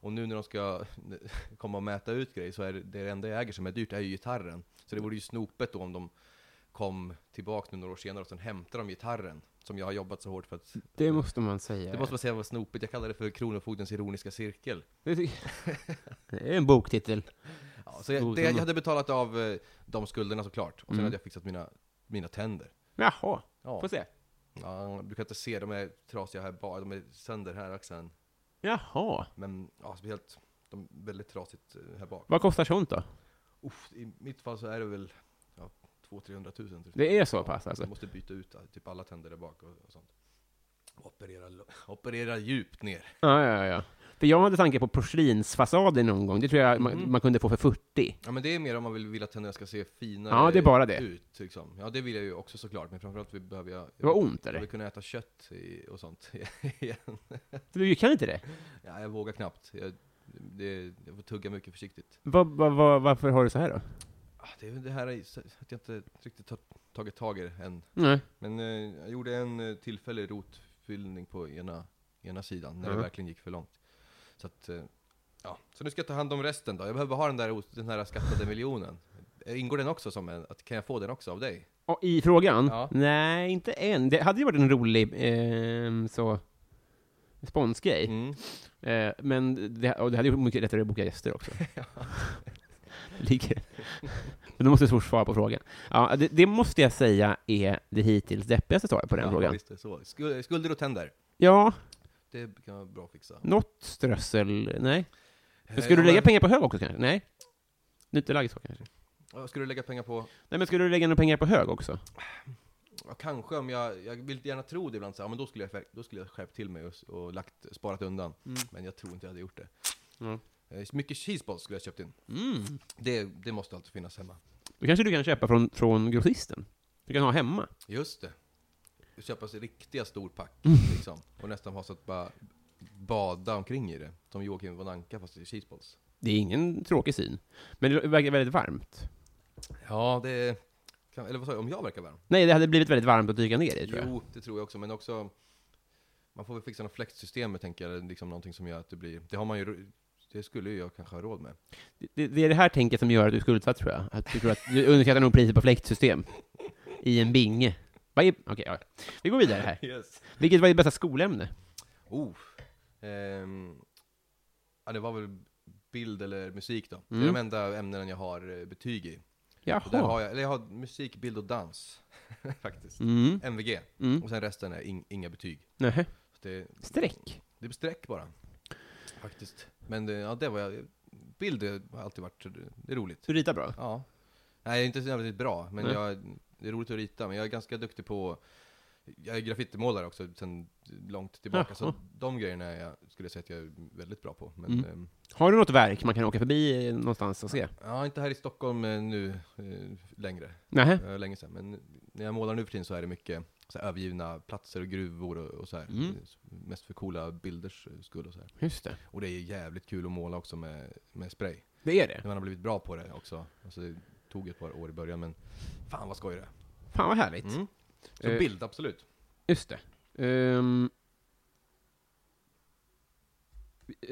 Och nu när de ska komma och mäta ut grejer så är det, det enda jag äger som är dyrt är ju gitarren. Så det vore ju snopet då om de kom tillbaka nu några år senare och sen hämtade de gitarren. Som jag har jobbat så hårt för att... Det måste man säga. Det måste man säga var snopet, jag kallar det för Kronofogdens ironiska cirkel. Det- det är en boktitel. Ja, så jag, det, jag hade betalat av eh, de skulderna såklart, och sen hade jag fixat mina, mina tänder. Jaha, Ja. får se. Ja, du kan inte se, de är trasiga här bara, de är sönder här axeln. Jaha. Men ja, speciellt, de är väldigt trasigt eh, här bak. Vad kostar sånt då? Uff, I mitt fall så är det väl ja, 200-300 tusen. typ. Det är så pass Du alltså? måste byta ut eh, typ alla tänder där bak och, och sånt. Operera, lo- operera djupt ner. Ja, ja, ja. För jag hade tanke på porslinsfasader någon gång. Det tror jag Mm. man, man kunde få för 40. Ja men det är mer om man vill, vill att tänderna ska se finare Ja, det är bara det. ut. Liksom. Ja det vill jag ju också såklart, men framförallt vi behöver jag... Det var ont, Jag eller? vill kunna äta kött i, och sånt igen. Du kan inte det? Ja, jag vågar knappt. Jag, det, jag får tugga mycket försiktigt. Va, va, va, varför har du så här då? Ah, Det är väl det här i- så- att jag inte riktigt har tagit tag i det än. Nej. Men eh, jag gjorde en eh, tillfällig rotfyllning på ena, ena sidan, när Mhm. det verkligen gick för långt. Så att, eh, ja. Så nu ska jag ta hand om resten då. Jag behöver ha den där, os- den här skattade miljonen. Eh, Ingår den också som en, att, kan jag få den också av dig? I frågan? Ja. Nej, inte än. Det hade ju varit en rolig ehm, så, sponsgrej. Mm. Eh, men det, och det hade ju varit mycket lättare att boka gäster också. Ligger. men då måste jag svara på frågan. Ja, det, det måste jag säga är det hittills deppigaste svaret på den Ja, frågan. Visst är det så. Skul- Skulder och tänder. Ja, Det kan vara bra att fixa. något strössel. Nej. Eh, Skulle du ja, lägga men- pengar på hög också kanske? Nej. Nu är inte lagt så kanske. ja, Skulle du lägga pengar på? Nej, men skulle du lägga några pengar på hög också? Ja, kanske om jag, jag vill gärna tro det ibland så här, ja, men då skulle jag, skär- då skulle jag skärpt till mig och, s- och lagt, sparat undan. Men jag tror inte jag hade gjort det. Ja. Eh, Mycket cheeseballs skulle jag köpt in. Det, det måste alltid finnas hemma. Då kanske du kan köpa från, från grossisten? Du kan ha hemma? Just det. Du Köpa sig riktiga storpack liksom. Och nästan ha så att bara bada omkring i det. Som Joakim von Anka fast i cheeseballs. Det är ingen tråkig syn. Men det verkar väldigt varmt. Ja, det... Kan, eller vad sa jag? Om jag verkar varm? Nej, det hade blivit väldigt varmt att dyka ner i, tror jag. Jo, det tror jag också, men också man får väl fixa något fläktsystem, jag tänker jag, liksom någonting som gör att det blir, det har man ju, det skulle ju jag kanske ha råd med. Det, det är det här tänket som gör att du är skuldsatt, tror jag. Att du, tror att du underskattar nog priset på fläktsystem. I en binge. Vad är... Okej, ja. Vi går vidare här. Yes. Vilket var ditt bästa skolämne? Oh. Ehm, ja, det var väl bild eller musik då. Det Mm. är de enda ämnena jag har eh, betyg i. Och där Jaha. har jag, eller jag har musik, bild och dans, faktiskt. Mm. MVG. Mm. Och sen resten är ing, inga betyg. Nähä. Så det, Streck. det är streck bara, faktiskt. Men det, ja, det var jag, bild har alltid varit, det är roligt. Du ritar bra. Ja. Nej, jag är inte så jävligt bra, men Nej. jag, det är roligt att rita, men jag är ganska duktig på jag är graffitimålare också sedan långt tillbaka, Jaha. så de grejerna är jag, skulle jag säga att jag är väldigt bra på. Men Mm. ehm, Har du något verk man kan åka förbi eh, någonstans och se? ja, inte här i Stockholm eh, nu eh, längre, Nähä. eh, länge sedan. Men när jag målar nu för tiden så är det mycket så här, övergivna platser och gruvor och, och så här. Mm. Eh, Mest för coola bilders eh, skull och så här. Just det. Och det är jävligt kul att måla också med, med spray. Det är det. När man har blivit bra på det också. Alltså, det tog ett par år i början, men fan vad skoj det är. Fan vad härligt. Mm. Så Eh, bild, absolut. Just det. Ehm.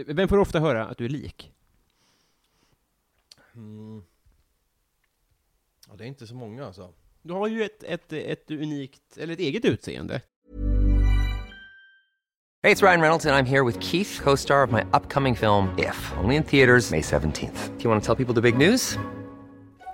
Vem får ofta höra att du är lik? Mm. Ja, det är inte så många alltså. Du har ju ett, ett, ett unikt, eller ett eget utseende. Hey, it's Ryan Reynolds, and I'm here with Keith, co star of my upcoming film, If, only in theaters, May 17th. Do you want to tell people the big news?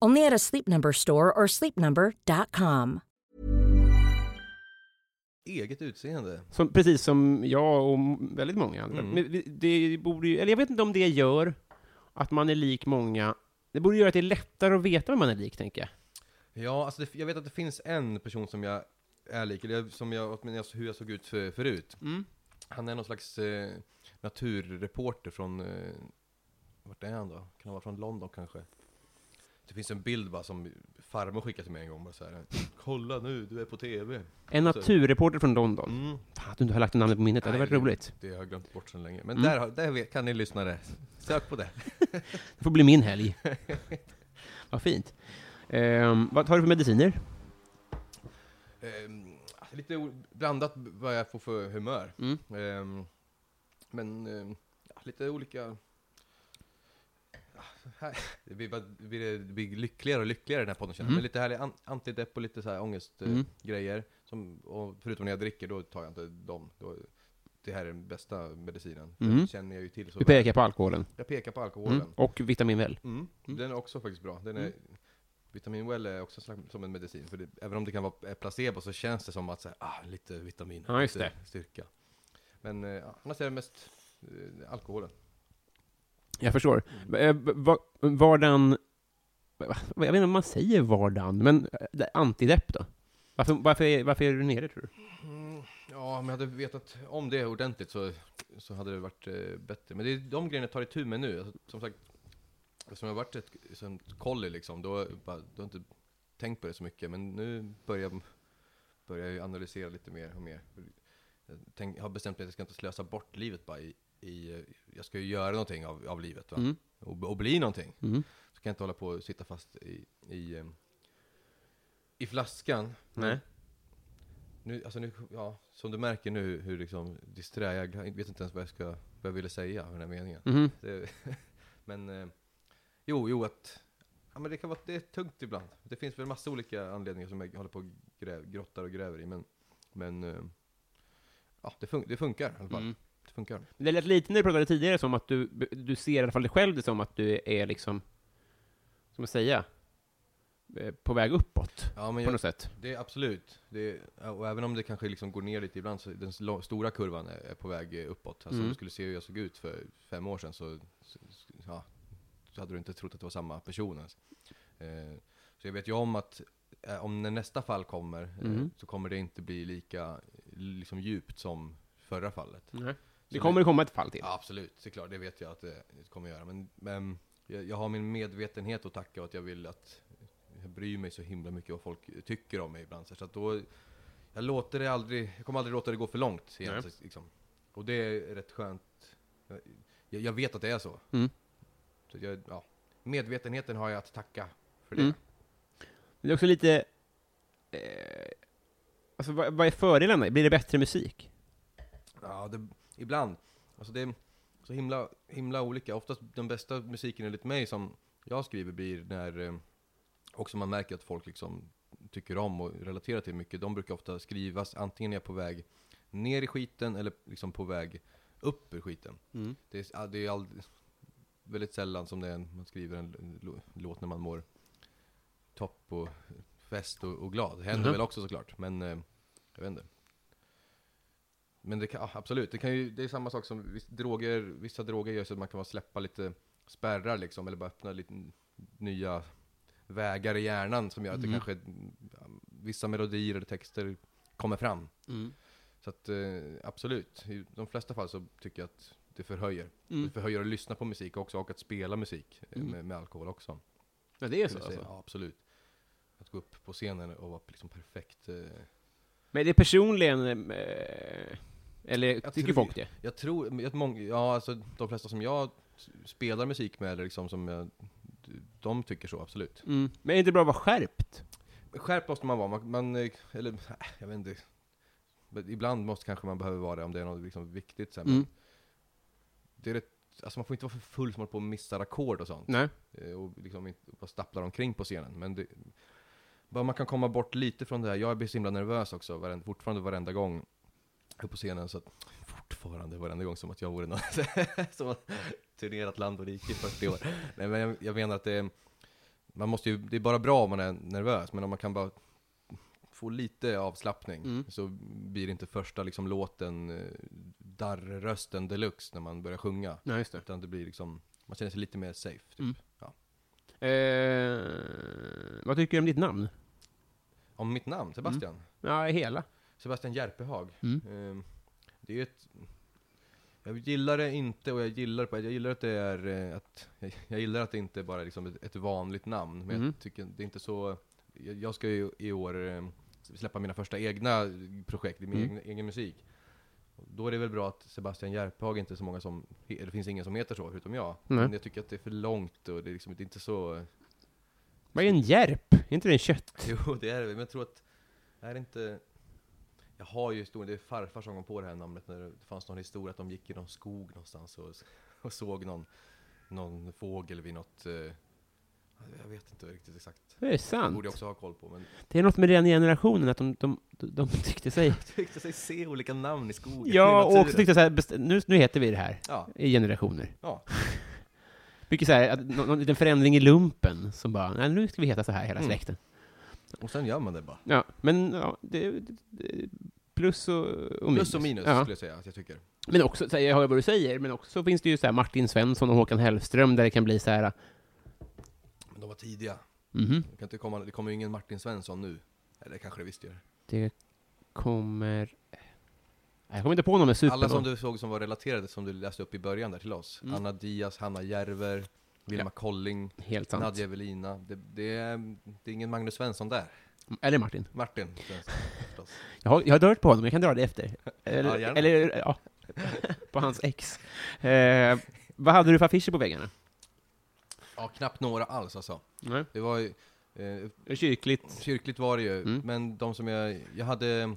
Only at a Sleep Number store or sleepnumber.com. Eget utseende. Som, precis som jag och m- väldigt många andra. Mm. Men vi- det borde ju, eller jag vet inte om det gör att man är lik många. Det borde göra att det är lättare att veta vem man är lik, tänker jag. Ja, alltså det, jag vet att det finns en person som jag är lik, eller jag- som jag, åtminstone jag- hur jag såg ut för, förut. Han är någon slags eh, naturreporter från, eh, vart är han då? Kan han vara från London kanske? Det finns en bild bara som farmor skickade till mig en gång, bara så här. Kolla nu, du är på TV. En Så- naturreporter från London. Fan, att du inte har lagt namnet på minnet, det hade Mm. Nej, varit roligt. Det har jag glömt bort sedan länge. Men där, har- där vet- kan ni lyssna det. Sök på det. Det får bli min helg. vad fint. Ehm, vad tar du för mediciner? Ehm, alltså lite o- blandat b- vad jag får för humör. Ehm, men ehm, ja, lite olika... här- det blir, bara, det blir, det blir lyckligare och lyckligare den här podden Mm. känner jag. Men lite härlig an, antidepp och lite så här ångestgrejer. grejer som, och förutom när jag dricker, då tar jag inte dem. Då, det här är den bästa medicinen. Den känner jag ju till. Så Vi Mm. pekar på alkoholen. Jag pekar på alkoholen. Mm. Och vitamin väl. Mm. Den är också faktiskt bra. Den är, Mm. Vitamin Well är också slags- som en medicin, för det, även om det kan vara eh, placebo så känns det som att säga, ah, lite vitamin, Ja, just lite styrka. Men eh, ja, annars är det mest eh, alkoholen. Jag förstår. Eh, va- Vardagen... va- Jag vet inte om man säger vardagen, men eh, det- antidepp då? Varför, varför, är, varför är du nere tror du? Ja, om jag hade vetat om det ordentligt så, så hade det varit eh, bättre. Men det är de grejerna jag tar itu med nu. Alltså, som sagt, eftersom jag har varit ett, som ett kolli liksom, då, bara, då har jag inte tänkt på det så mycket. Men nu börjar, börjar jag ju analysera lite mer och mer. Jag, tänk, jag har bestämt mig att jag ska inte slösa bort livet bara i, i eh, jag ska ju göra någonting av, av livet va? Och, och bli någonting. Så kan jag inte hålla på och sitta fast i, i, eh, i flaskan. Nej. Nu, alltså nu, ja, som du märker nu hur liksom disträ jag jag vet inte ens vad jag, ska, vad jag ville säga med den här meningen. Mhm. Det, men eh, jo, jo att ja, men det kan vara det är tungt ibland. Det finns väl massa olika anledningar som jag håller på och gräv, grottar och gräver i, men, men eh, ja, det, fun- det funkar i alla Mm. fall. Det funkar. Det lät lite när du pratade tidigare som att du, du ser i alla fall dig själv det som att du är liksom, ska man säga, eh, på väg uppåt Ja, på men jag, något sätt. Det är absolut. Det är, ja, och även om det kanske liksom går ner lite ibland så den sl- stora kurvan är, är på väg eh, uppåt. Alltså om du skulle se hur jag såg ut för fem år sedan så, så, ja, så hade du inte trott att det var samma person ens. Eh, så jag vet ju om att eh, om när nästa fall kommer eh, så kommer det inte bli lika eh, liksom, djupt som förra fallet. Det kommer det komma ett fall till. Ja, absolut, det är klart, det vet jag att det kommer göra. Men, men jag, jag har min medvetenhet att tacka och att jag vill att jag bryr mig så himla mycket vad folk tycker om mig ibland. Så att då, jag låter det aldrig, jag kommer aldrig låta det gå för långt egentligen. Liksom. Och det är rätt skönt. Jag, jag vet att det är så. så att jag, ja. Medvetenheten har jag att tacka för det. Det är också lite... Eh, alltså, vad, vad är fördelarna? Blir det bättre musik? Ja, det, ibland. Alltså det är så himla, himla olika. Oftast den bästa musiken enligt mig som jag skriver blir när eh, också man märker att folk liksom tycker om och relaterar till mycket. De brukar ofta skrivas antingen när jag är på väg ner i skiten eller liksom på väg upp ur skiten. Det är, ja, det är ald- väldigt sällan som det är en, man skriver en l- lo- låt när man mår topp och fest och, och glad. Det händer väl också såklart, men eh, jag vet inte. Men det kan, ja, absolut, det, kan ju, det är samma sak som viss, droger, vissa droger gör så att man kan bara släppa lite spärrar liksom, eller bara öppna lite n- nya vägar i hjärnan som gör att Mm. det kanske, ja, vissa melodier eller texter kommer fram. Mm. Så att eh, absolut, i de flesta fall så tycker jag att det förhöjer. Mm. Det förhöjer att lyssna på musik också, och att spela musik eh, med, med alkohol också. Ja, Mm. det är alltså. skulle jag säga. Ja, absolut. Att gå upp på scenen och vara liksom perfekt. eh, Men är det personligen... Eh, eller Jag tycker tror- folk det? Jag tror, men att många, ja alltså de flesta som jag s- spelar musik med, eller liksom som jag, de tycker så, absolut. Mm. Men är det inte bra att vara skärpt? Skärpt måste man vara, man, man eh, eller äh, jag vet inte. Men ibland måste kanske man behöver vara det om det är något liksom viktigt sen. Mm. Men det är rätt, alltså man får inte vara för full som håller på och missar ackord och sånt. Nej. Eh, och liksom inte- och bara stapplar omkring på scenen. Men det, bara man kan komma bort lite från det här. Jag blir så himla nervös också, varenda, fortfarande varenda gång jag är på scenen. Så att, fortfarande varenda gång som att jag vore någon som har turnerat land och rike i 40 år. Nej, men jag, jag menar att det, man måste ju, det är bara bra om man är nervös, men om man kan bara få lite avslappning så blir det inte första liksom, låten eh, darrrösten deluxe när man börjar sjunga. Nej, just det. Utan det blir liksom, man känner sig lite mer safe. Typ. Ja. Eh, vad tycker du om ditt namn? Om mitt namn, Sebastian. Ja, hela. Sebastian Järpehag. Ehm, det är ju ett... Jag gillar det inte och jag gillar, på- jag gillar att det är eh, att, jag, jag gillar att det inte bara är liksom ett, ett vanligt namn, men jag tycker det är inte så... Jag, jag ska ju i år eh, släppa mina första egna projekt, min egna, egen musik. Då är det väl bra att Sebastian Järpehag inte är så många som, he- det finns ingen som heter så förutom jag. Men jag tycker att det är för långt och det är liksom det är inte så... Vad är en järp? Är inte det en kött? Jo, det är det. Men jag tror att... Är det inte... Jag har ju historien, det är farfar som kom på det här namnet när det fanns någon historia att de gick i någon skog någonstans och, och såg någon någon fågel vid något... eh, Jag vet inte riktigt exakt. Det är Det sant. borde jag också ha koll på, men... Det är något med den generationen, att de, de, de, de tyckte sig... Tyckte sig se olika namn i skogen, Ja, och i också tyckte så här, best- nu, nu heter vi det här. Ja, I generationer. ja. Mycket så här, att nå- någon liten förändring i lumpen som bara, nej nu ska vi heta så här hela Mm. släkten. Och sen gör man det bara. Ja, men ja, det, det- det, plus och, och minus. Plus och minus, Ja. skulle jag säga att jag tycker. Men också, så här, jag hör vad du säger, men också finns det ju så här Martin Svensson och Håkan Hellström där det kan bli så här, Men de var tidiga. mhm, Det, kan inte komma, det kommer ju ingen Martin Svensson nu. Eller kanske det visst gör. det kommer... Nej, Jag kommer inte på någon med super. Alla som du såg som var relaterade, som du läste upp i början där till oss. Mm. Anna Diaz, Hanna Järver, Vilma Colling, Helt sant. Nadja Evelina. Det, det, är, det är ingen Magnus Svensson där. Eller Martin. Martin Svensson förstås. Jag har, jag har dört på honom, jag kan dra det efter. Eller, Ja, gärna. eller ja, på hans ex. Eh, vad hade du för affischer på väggarna? Ja, knappt några alls alltså. Nej. Det var ju... Eh, Kyrkligt. kyrkligt var det ju, Mm. men de som jag... Jag hade...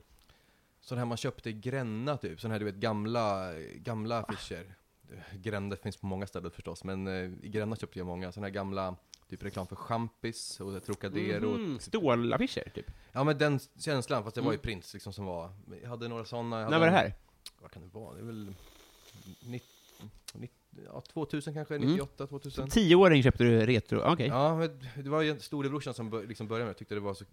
Sån här man köpte i Gränna typ, sån här du vet gamla, gamla Ah. affischer. Gränna finns på många ställen förstås, men eh, i Gränna köpte jag många. Sån här gamla, typ reklam för champis och Trocadero. Mhm, Stålaffischer, typ. Ja men den känslan, fast det var ju Mm. Prince liksom som var. Jag hade några sådana. jag hade När var det en- här? Vad kan det vara? Det är väl... 90, 90, ja, 2000 kanske, Mm. 98, 2000. Som tioåring köpte du retro, okej. Ja, men det var ju storebrorsan som bör, liksom började med det. Jag tyckte det var så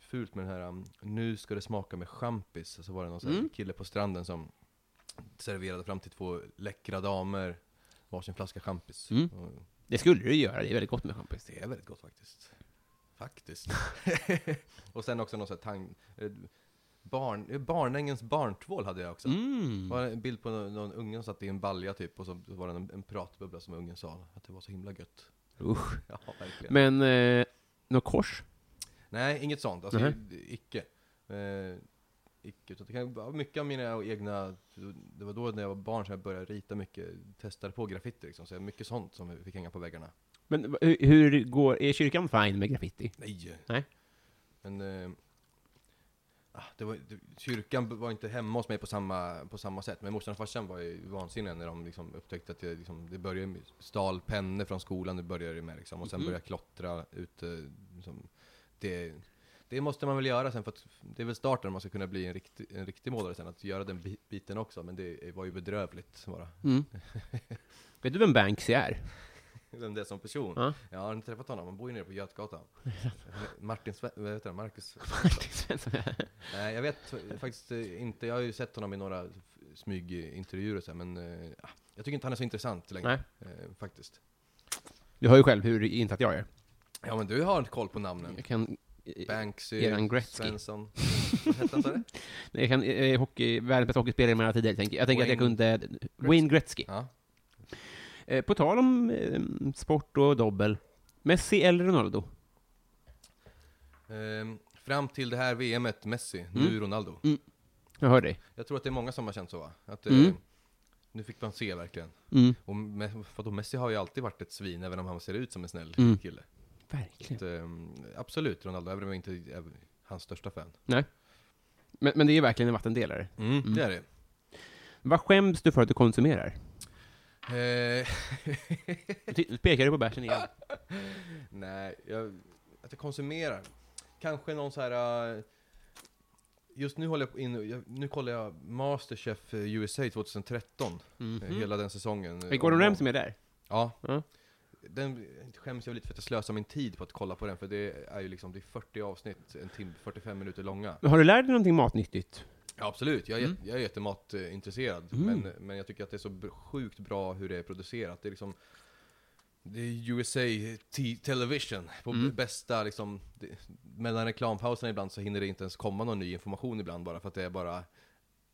fult med den här um, Nu ska det smaka med champis. Så var det någon sån här Mm. kille på stranden som serverade fram till två läckra damer varsin flaska champis. Mm. Och Det skulle du göra, det är väldigt gott med champis. det är väldigt gott faktiskt. Faktiskt. och sen också någon sån här tang... eh, Barn, eh, barnängens barntvål hade jag också. Det Mm. var en bild på någon, någon unge som satt i en balja typ, och så var det en, en pratbubbla som ungen sa att det var så himla gött. Usch. Ja, verkligen. Men, eh, något kors? Nej, inget sånt. Alltså, Nej. icke. Eh, icke. Utan det kan, ja, mycket av mina egna, det var då när jag var barn som jag började rita mycket, testade på graffiti liksom. Så jag- mycket sånt som jag fick hänga på väggarna. Men hur, hur går, är kyrkan fine med graffiti? Nej! Nej. Men, eh, ah, det var, det, kyrkan b- var inte hemma hos mig på samma, på samma sätt. Men morsan och farsan var ju vansinniga när de liksom upptäckte att jag, liksom, det började med stal pennor från skolan, det började det med liksom. Och sen Mhm. började jag klottra ute. Liksom, det, det måste man väl göra sen för att det är väl starten om man ska kunna bli en riktig, en riktig målare sen, att göra den bi- biten också. Men det var ju bedrövligt bara. Mm. Vet du vem Banksy är? Vem det är som person? Ja. Jag har inte träffat honom, han bor ju nere på Götgatan. Martin Sve- vad heter han? Marcus Martin Svensson. Nej, jag vet faktiskt eh, inte. Jag har ju sett honom i några f- smygintervjuer och så, här, men eh, ah, jag tycker inte han är så intressant längre. Eh, faktiskt. Du hör ju själv hur insatt jag är. Ja, men du har inte koll på namnen. Jag kan... eh, Banksy, Eran Gretzky. Svensson. Vad hette han, sa du? Jag kan, eh, hockey, världens bästa hockeyspelare med alla tider, tänker jag. Jag tänker att jag Wayne kunde... Wayne Gretzky. Ja. Eh, på tal om eh, sport och dobbel. Messi eller Ronaldo? Ehm, fram till det här VMet, Messi, nu Mm. Ronaldo. Jag hör dig. Jag tror att det är många som har känt så, va? Att, eh, Mm. Nu fick man se verkligen. Mm. Och Me- vadå, Messi har ju alltid varit ett svin, även om han ser ut som en snäll Mm. kille. Verkligen. Så, ehm, absolut Ronaldo, även om jag inte är hans största fan. Men, men det är verkligen en vattendelare. Mm. Det är det. Vad skäms du för att du konsumerar? Eh, Ty- Pekar du på bärsen igen? Nej, jag, att jag konsumerar. Kanske någon så här... eh, Just nu håller jag på in, jag, nu kollar jag Masterchef eh, USA 2013, eh, hela den säsongen. eh, Är Gordon om- Ramsay med där? Ja. Ja. Den skäms jag lite för att jag slösar min tid på att kolla på den, för det är ju liksom, det är 40 avsnitt, en timme, 45 minuter långa. Men Har du lärt dig någonting matnyttigt? Ja, absolut, Mm. jag är, jätte- jag är jättematintresserad, men, men jag tycker att det är så b- sjukt bra hur det är producerat. Det är liksom det är USA t- Television på Mm. b- bästa liksom, det, mellan reklampauserna ibland så hinner det inte ens komma någon ny information ibland bara för att det är bara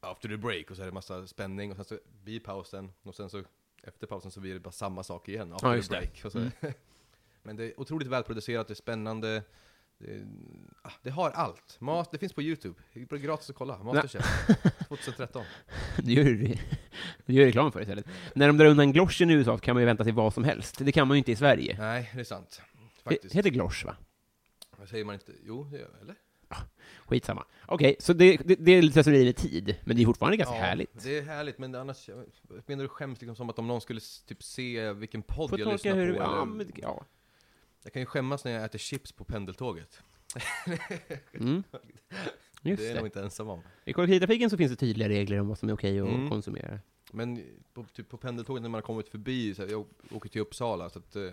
after the break och så är det massa spänning och sen så blir pausen och sen så efter pausen så blir det bara samma sak igen after Ja, just the det. Mm. break. Och så. men det är otroligt välproducerat, det är spännande. Det, är- ah, det har allt. Mas, det finns på Youtube. Det är gratis att kolla. Masterchef 2013. Du gör, du- du gör reklam för det istället. När de drar undan gloschen i USA kan man ju vänta sig vad som helst. Det kan man ju inte i Sverige. Nej, det är sant. Det Faktiskt. heter glosch, va? Vad säger man inte? Jo, det gör jag, eller? Skitsamma. Okej, så det, det, det är lite slöseri med tid, men det är fortfarande ganska härligt. Det är härligt, men annars, jag menar du skäms liksom som att om någon skulle s- typ se vilken podd Får jag lyssnar tolka hur på? du... Ja, eller- men, ja. Jag kan ju skämmas när jag äter chips på pendeltåget. Just det är det. jag nog inte ensam om. I kollektivtrafiken så finns det tydliga regler om vad som är okej att Mm. konsumera. Men på, typ på pendeltåget när man har kommit förbi, så här, jag åker till Uppsala, så att, eh, när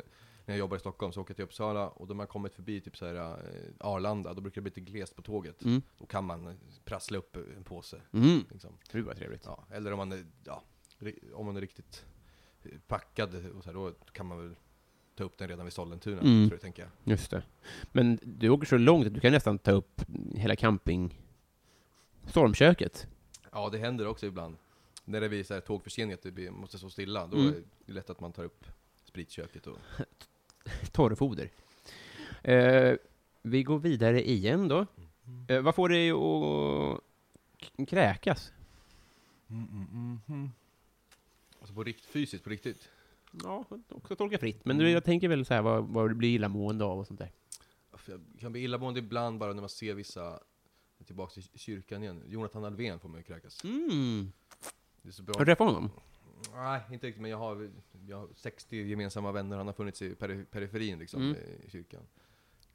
jag jobbar i Stockholm så åker jag till Uppsala, och då man kommit förbi typ så här, eh, Arlanda, då brukar det bli lite glest på tåget. Mm. Då kan man eh, prassla upp en påse. Liksom. Gud vad trevligt. Ja, eller om man, är- ja, ri- om man är riktigt eh, packad, och så här, då kan man väl ta upp den redan vid Sollentuna, Mm. tror jag, tänker jag. Just det. Men du åker så långt att du kan nästan ta upp hela camping... Stormköket. Ja, det händer också ibland. När det blir så här tågförseningar, att det blir- måste stå stilla, då Mm. är det lätt att man tar upp spritköket och Torrfoder. Eh, vi går vidare igen då. Eh, vad får dig att k- kräkas? Alltså på rikt, fysiskt, på riktigt? Ja, också tolka fritt. Men du, jag tänker väl så här vad, vad du blir illamående av och sånt där. För Jag kan bli illamående ibland bara när man ser vissa, tillbaka till kyrkan igen, Jonathan Alfvén får man ju kräkas. Mm. Det är så Har du bra. träffat honom? Nej, inte riktigt, men jag har, jag har 60 gemensamma vänner, han har funnits i peri- periferin liksom, Mm. eh, i kyrkan.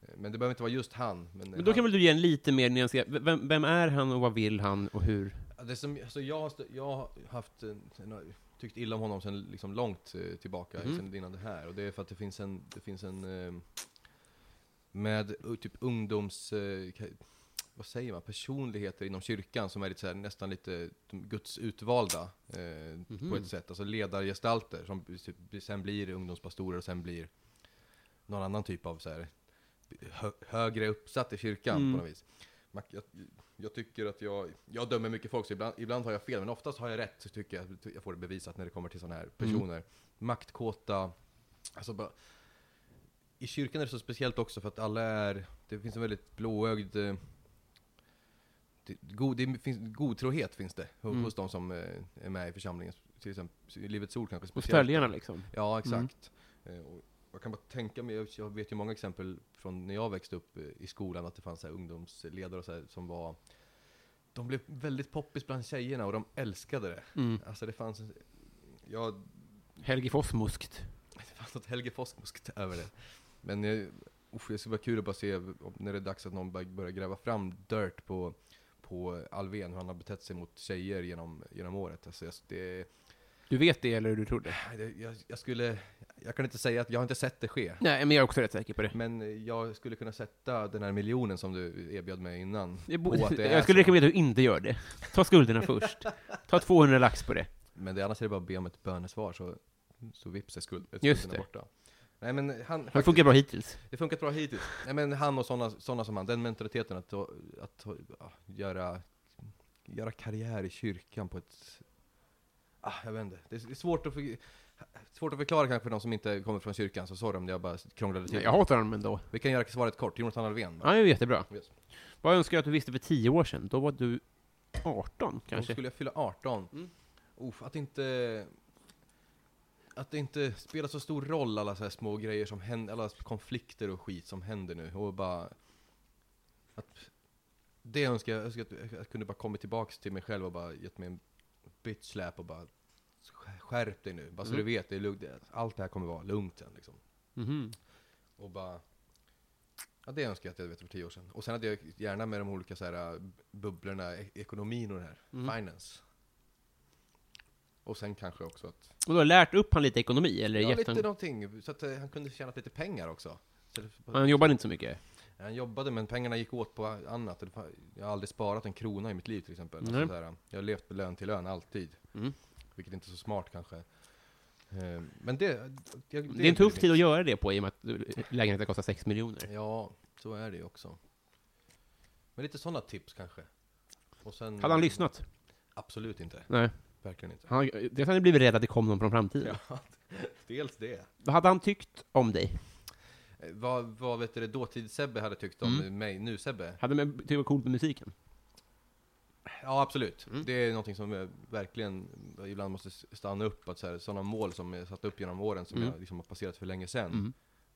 Eh, Men det behöver inte vara just han. Men, Men då kan han, väl du ge en lite mer nyanserad... Vem, vem är han och vad vill han och hur? det som, alltså jag, har stö- jag har haft, en- en- har tyckt illa om honom sedan liksom långt eh, tillbaka, Mhm. sen innan det här. Och det är för att det finns en, det finns en eh, med eh, typ ungdoms, eh, ka- vad säger man, personligheter inom kyrkan som är lite så här, nästan lite de Guds utvalda eh, på ett sätt. Alltså ledargestalter som typ, sen blir ungdomspastorer och sen blir någon annan typ av så här, hö, högre uppsatt i kyrkan Mm. på något vis. Man, jag, jag tycker att jag, jag dömer mycket folk, så ibland, ibland har jag fel, men oftast har jag rätt, så tycker jag. Jag får det bevisat när det kommer till sådana Mm. här personer. Maktkåta, alltså bara, i kyrkan är det så speciellt också för att alla är, det finns en väldigt blåögd eh, det, god, det finns, godtrohet finns det hos, Mm. hos de som eh, är med i församlingen, till exempel i Livets Ord kanske Hos speciellt. följarna liksom? Ja, exakt. Eh, och jag kan bara tänka mig, jag- jag vet ju många exempel från när jag växte upp eh, i skolan, att det fanns så här ungdomsledare och så här, som var de blev väldigt poppis bland tjejerna och de älskade det. Alltså det fanns, jag Helge Fossmuskt. det fanns något Helge Fossmuskt över det. Men eh, usch, det skulle vara kul att bara se om- när det är dags att någon bara börjar gräva fram dirt på, på Alven, hur han har betett sig mot tjejer genom, genom året. Alltså, jag, det, Du vet det eller du tror det? det, jag, jag skulle, jag kan inte säga att jag har inte sett det ske. Nej, men jag är också rätt säker på det. Men eh, jag skulle kunna sätta den här miljonen som du erbjöd mig innan Jag, på att det är jag skulle så. rekommendera att du inte gör det. Ta skulderna först. Ta 200 lax på det. Men det, annars är det bara att be om ett bönesvar så, så vips är skuld, Just skulderna det. borta. Nej men han, Det funkar bra hittills. Det funkat bra hittills. Nej, men han och sådana såna som han, den mentaliteten att, att, att ja, göra, göra karriär i kyrkan på ett... Ah, jag vet inte. Det är svårt att, för, svårt att förklara kanske för de som inte kommer från kyrkan, så sorry om jag bara krånglade till Jag det. hatar honom ändå. Vi kan göra svaret kort, Jonathan Alfvén. Ja, det är jättebra. Yes. Vad önskar jag att du visste för 10 år sedan? Då var du 18, Då kanske? skulle jag fylla 18. Uff, att inte... Att det inte spelar så stor roll alla så här små grejer som händer, alla konflikter och skit som händer nu och bara... Att, det önskar jag, jag önskar att jag kunde bara kommit tillbaks till mig själv och bara gett mig en bitch slap och bara skärp dig nu, bara så du vet, det är lugnt, allt det här kommer vara lugnt sen liksom. Mhm. Och bara... Ja, det önskar jag att jag vet för tio år sedan. Och sen hade jag gärna med de olika så här äh, bubblorna, e- ekonomin och det här. Finance. Och sen kanske också att... Och du har lärt upp han lite ekonomi, eller Ja, gett lite han... någonting. Så att eh, han kunde tjäna lite pengar också. Så det, Han jobbade inte så mycket. han jobbade men pengarna gick åt på annat. Och det fa- Jag har aldrig sparat en krona i mitt liv till exempel. Nej. Alltså, så här, jag har levt på lön till lön alltid. Mm. Vilket inte är så smart kanske. Eh, Men det... jag- Det, Det är en tuff tid att göra det på i och med att lägenheten kostar 6 miljoner. Ja, så är det ju också. Men lite sådana tips kanske. Och sen, Hade han lyssnat? Absolut inte. Nej. Verkligen inte. Han, dels hade han blivit rädd att det kom någon från framtiden. Ja, dels det. Vad hade han tyckt om dig? Eh, Vad, vad vet du det dåtid-Sebbe hade tyckt om Mm. mig, nu-Sebbe? Hade han tyckt det var coolt med musiken? Ja, absolut. Mm. Det är någonting som jag verkligen ibland Mm. måste s- stanna upp. Att så här, sådana mål som jag satt upp genom åren som jag liksom har passerat för länge sedan.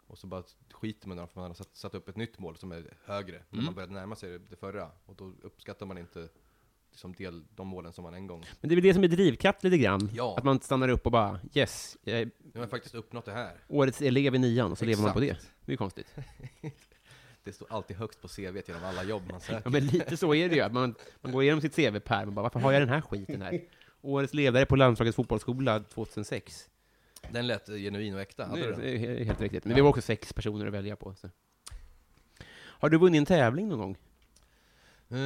Och så bara skiter man i dem för man har satt, satt upp ett nytt mål som är högre. När Mm. man började närma sig det förra. Och då uppskattar man inte liksom del, de målen som man en gång... Men det är väl det som är drivkraft lite grann? Ja. Att man stannar upp och bara yes, jag är Nu har jag faktiskt uppnått det här. årets elev i nian och så lever man på det. Exakt. Det är ju konstigt. Det står alltid högst på CVt genom alla jobb man söker. Ja, men lite så är det ju. att Man, man går igenom sitt CV-pärm och bara, varför har jag den här skiten här? Årets ledare på landslagets fotbollsskola 2006. Den lät eh, genuin och äkta. Hade Det du är, den? det är helt riktigt. Men vi var också sex personer att välja på. Så. Har du vunnit en tävling någon gång? Eh,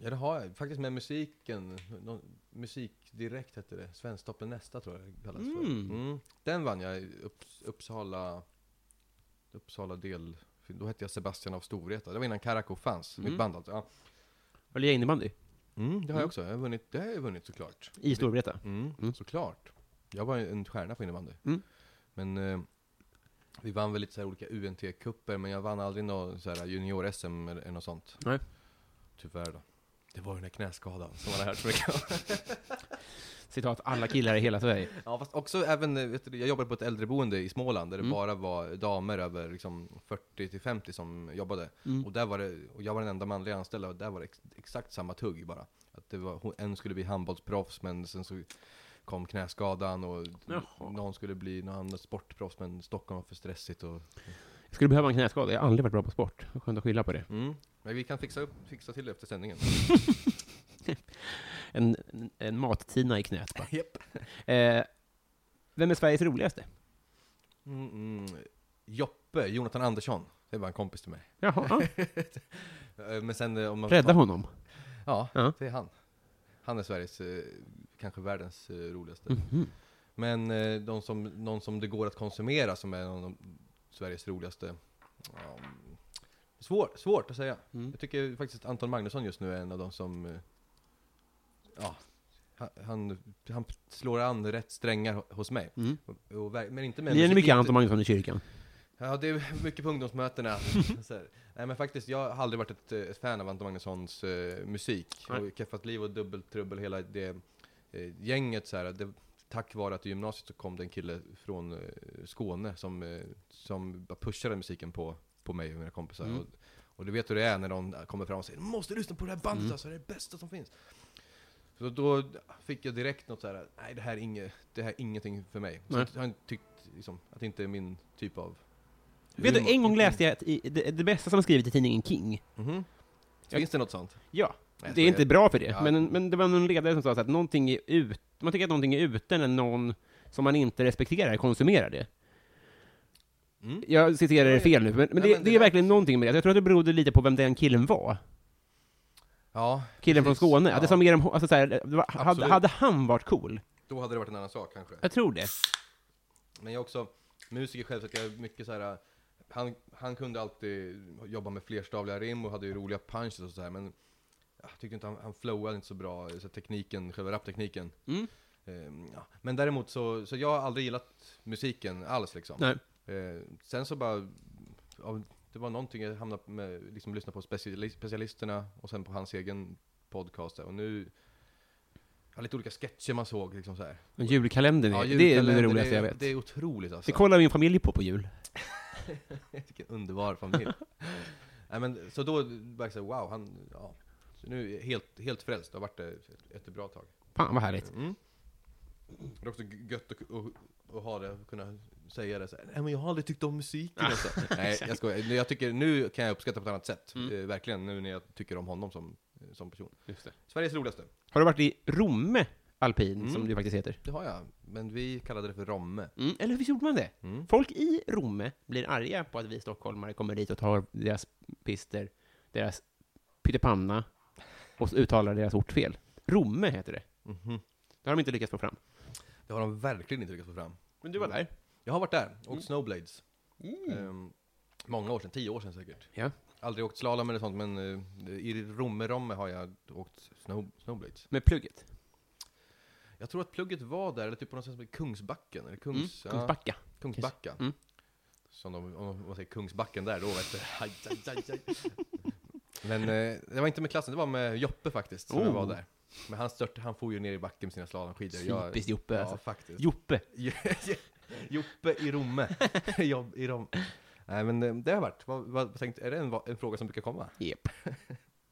ja, det har jag. Faktiskt med musiken. Nå- musik direkt hette det. Svensktoppen nästa tror jag det kallas Mm. för. Mm. Den vann jag i upp, Uppsala, Uppsala del. Då hette jag Sebastian av Storvreta. Det var innan Karakou fanns. Mm. Mitt band alltså. Ja. Har du lirat innebandy? Mm, det har jag också. Jag har vunnit, det har jag vunnit såklart. I Storvreta? Mm, Såklart. Jag var en stjärna på innebandy. Men eh, vi vann väl lite så här olika UNT-cuper, men jag vann aldrig någon så här junior-SM eller eller något sånt. Nej. Tyvärr då. Det var ju den här knäskadan som man har hört så mycket om. Citat, alla killar i hela Sverige. Ja, fast också även, eh, vet du, jag jobbade på ett äldreboende i Småland där det bara var damer över liksom 40 till 50 som jobbade. Och, där var det, och jag var den enda manliga anställda och där var det ex, exakt samma tugg bara. Att det var, hon- en skulle bli handbollsproffs men sen så kom knäskadan och Jaha. någon skulle bli någon annan sportproffs men Stockholm var för stressigt och... Jag skulle behöva en knäskada. Jag har aldrig varit bra på sport. Vad Skönt att skylla på det. Mm. Men vi kan fixa, upp, fixa till det efter sändningen. En, en, en mattina i knät bara. Japp. Eh, vem är Sveriges roligaste? Mm, mm. Joppe, Jonathan Andersson, det var en kompis till mig. Jaha, ja. Eh, Men sen eh, om man... rädda honom. Ja, Ja. det är han. Han är Sveriges, eh, kanske världens eh, roligaste. Mm. Men eh, de som, någon som det går att konsumera som är någon av Sveriges roligaste. Ja, svår, svårt att säga. Mm. Jag tycker faktiskt att Anton Magnusson just nu är en av de som, eh, ja, han, han, han slår an rätt strängar ho- hos mig. Och, och, ver- men inte med Lirar Mm. ni mycket inte- Anton Magnusson i kyrkan? Ja, det är mycket på ungdomsmötena. så här. Nej, men faktiskt, jag har aldrig varit ett, eh, ett fan av Anton Magnussons eh, musik. Nej. Och Keffat Liv och Dubbeltrubbel, hela det eh, gänget så här. Det, tack vare att i gymnasiet så kom det en kille från eh, Skåne som, eh, som bara pushade musiken på, på mig och mina kompisar. Mm. Och, och du vet hur det är när någon kommer fram och säger måste lyssna på det här Mm. bandet alltså, det är det bästa som finns. Så då fick jag direkt något så här, nej det här är, inget, det här är ingenting för mig. Så Nej. att han tyckt liksom, att det inte är min typ av Vet du, humor. en gång läste jag att i, det, det bästa som skrivits i tidningen King. Finns det något sånt? Ja. Det jag är skojar. inte bra för det, Ja. men, men det var någon ledare som sa så att någonting är ut, man tycker att någonting är ute när någon som man inte respekterar konsumerar det. Jag citerar det fel nu, men, men, det, Mm. Ja, men det det är där- verkligen någonting med det. Jag tror att det berodde lite på vem den killen var. Ja, Killen precis. från Skåne. Ja, Att det sa mer om, ho- alltså så här, det var, hade, Absolut. hade han varit cool? Då hade det varit en annan sak kanske. Jag tror det. Men jag är också musiker själv, så att jag är mycket så här. äh, Han, han kunde alltid jobba med flerstavliga rim och hade ju roliga punches och så här, men jag tyckte inte han, han flowade inte så bra, så här, tekniken, själva raptekniken. Ehm, ja. Men däremot så, så jag har aldrig gillat musiken alls liksom. Nej. Eh, sen så bara, ja, det var någonting jag hamnade med, liksom lyssna på speciali- specialisterna och sen på hans egen podcast där. och nu, ja, lite olika sketcher man såg liksom så här. Men julkalendern, är- Ja, det är det julkalender, roligaste jag är- vet. Det Det, är otroligt alltså. kollar min familj på på jul. Vilken underbar familj. Nej, men, så då var jag så här, wow, han, ja. Så nu är jag helt, helt frälst, har varit det ett, ett bra tag. Fan vad härligt. Det är också gött att och, och ha det, kunna säga det så här, nej men jag har aldrig tyckt om musiken alltså. Nej, jag skojar. Nu- Jag tycker, nu kan jag uppskatta på ett annat sätt. Eh, verkligen, nu när jag tycker om honom som, eh, som person. Sveriges roligaste, Har du varit i Romme alpin, som det faktiskt heter? det har jag. Men vi kallade det för Romme. Mm, eller visst gjorde man det? Folk i Romme blir arga på att vi stockholmare kommer dit och tar deras pister, deras pyttipanna, och så uttalar deras ort fel. Romme heter det. Det har de inte lyckats få fram. Det har de verkligen inte lyckats få fram. Men du var där? Jag har varit där, och Snowblades. Ehm, många år sedan, tio år sedan säkert. Ja. Aldrig åkt slalom eller sånt, men eh, i Romme-Romme har jag åkt snow, snowblades. Med plugget? Jag tror att plugget var där, eller typ på något sätt som heter Kungsbacken, eller Mm. Kungs, ja, Kungsbacka? Kungsbacka. Mm. Som de, om de- om man säger Kungsbacken där, då vet du. Aj, aj, aj, aj. Men eh, det var inte med klassen, det var med Joppe faktiskt, som jag var Oh. där. Men han stört, han for ju ner i backen med sina slalomskidor. Jag- Typiskt Joppe Ja, alltså. faktiskt. Joppe! Joppe i Romme. Jobb i Rom. Nej men eh, det har varit. Vad, vad, tänkt, är det en, va- en fråga som brukar komma? Yep.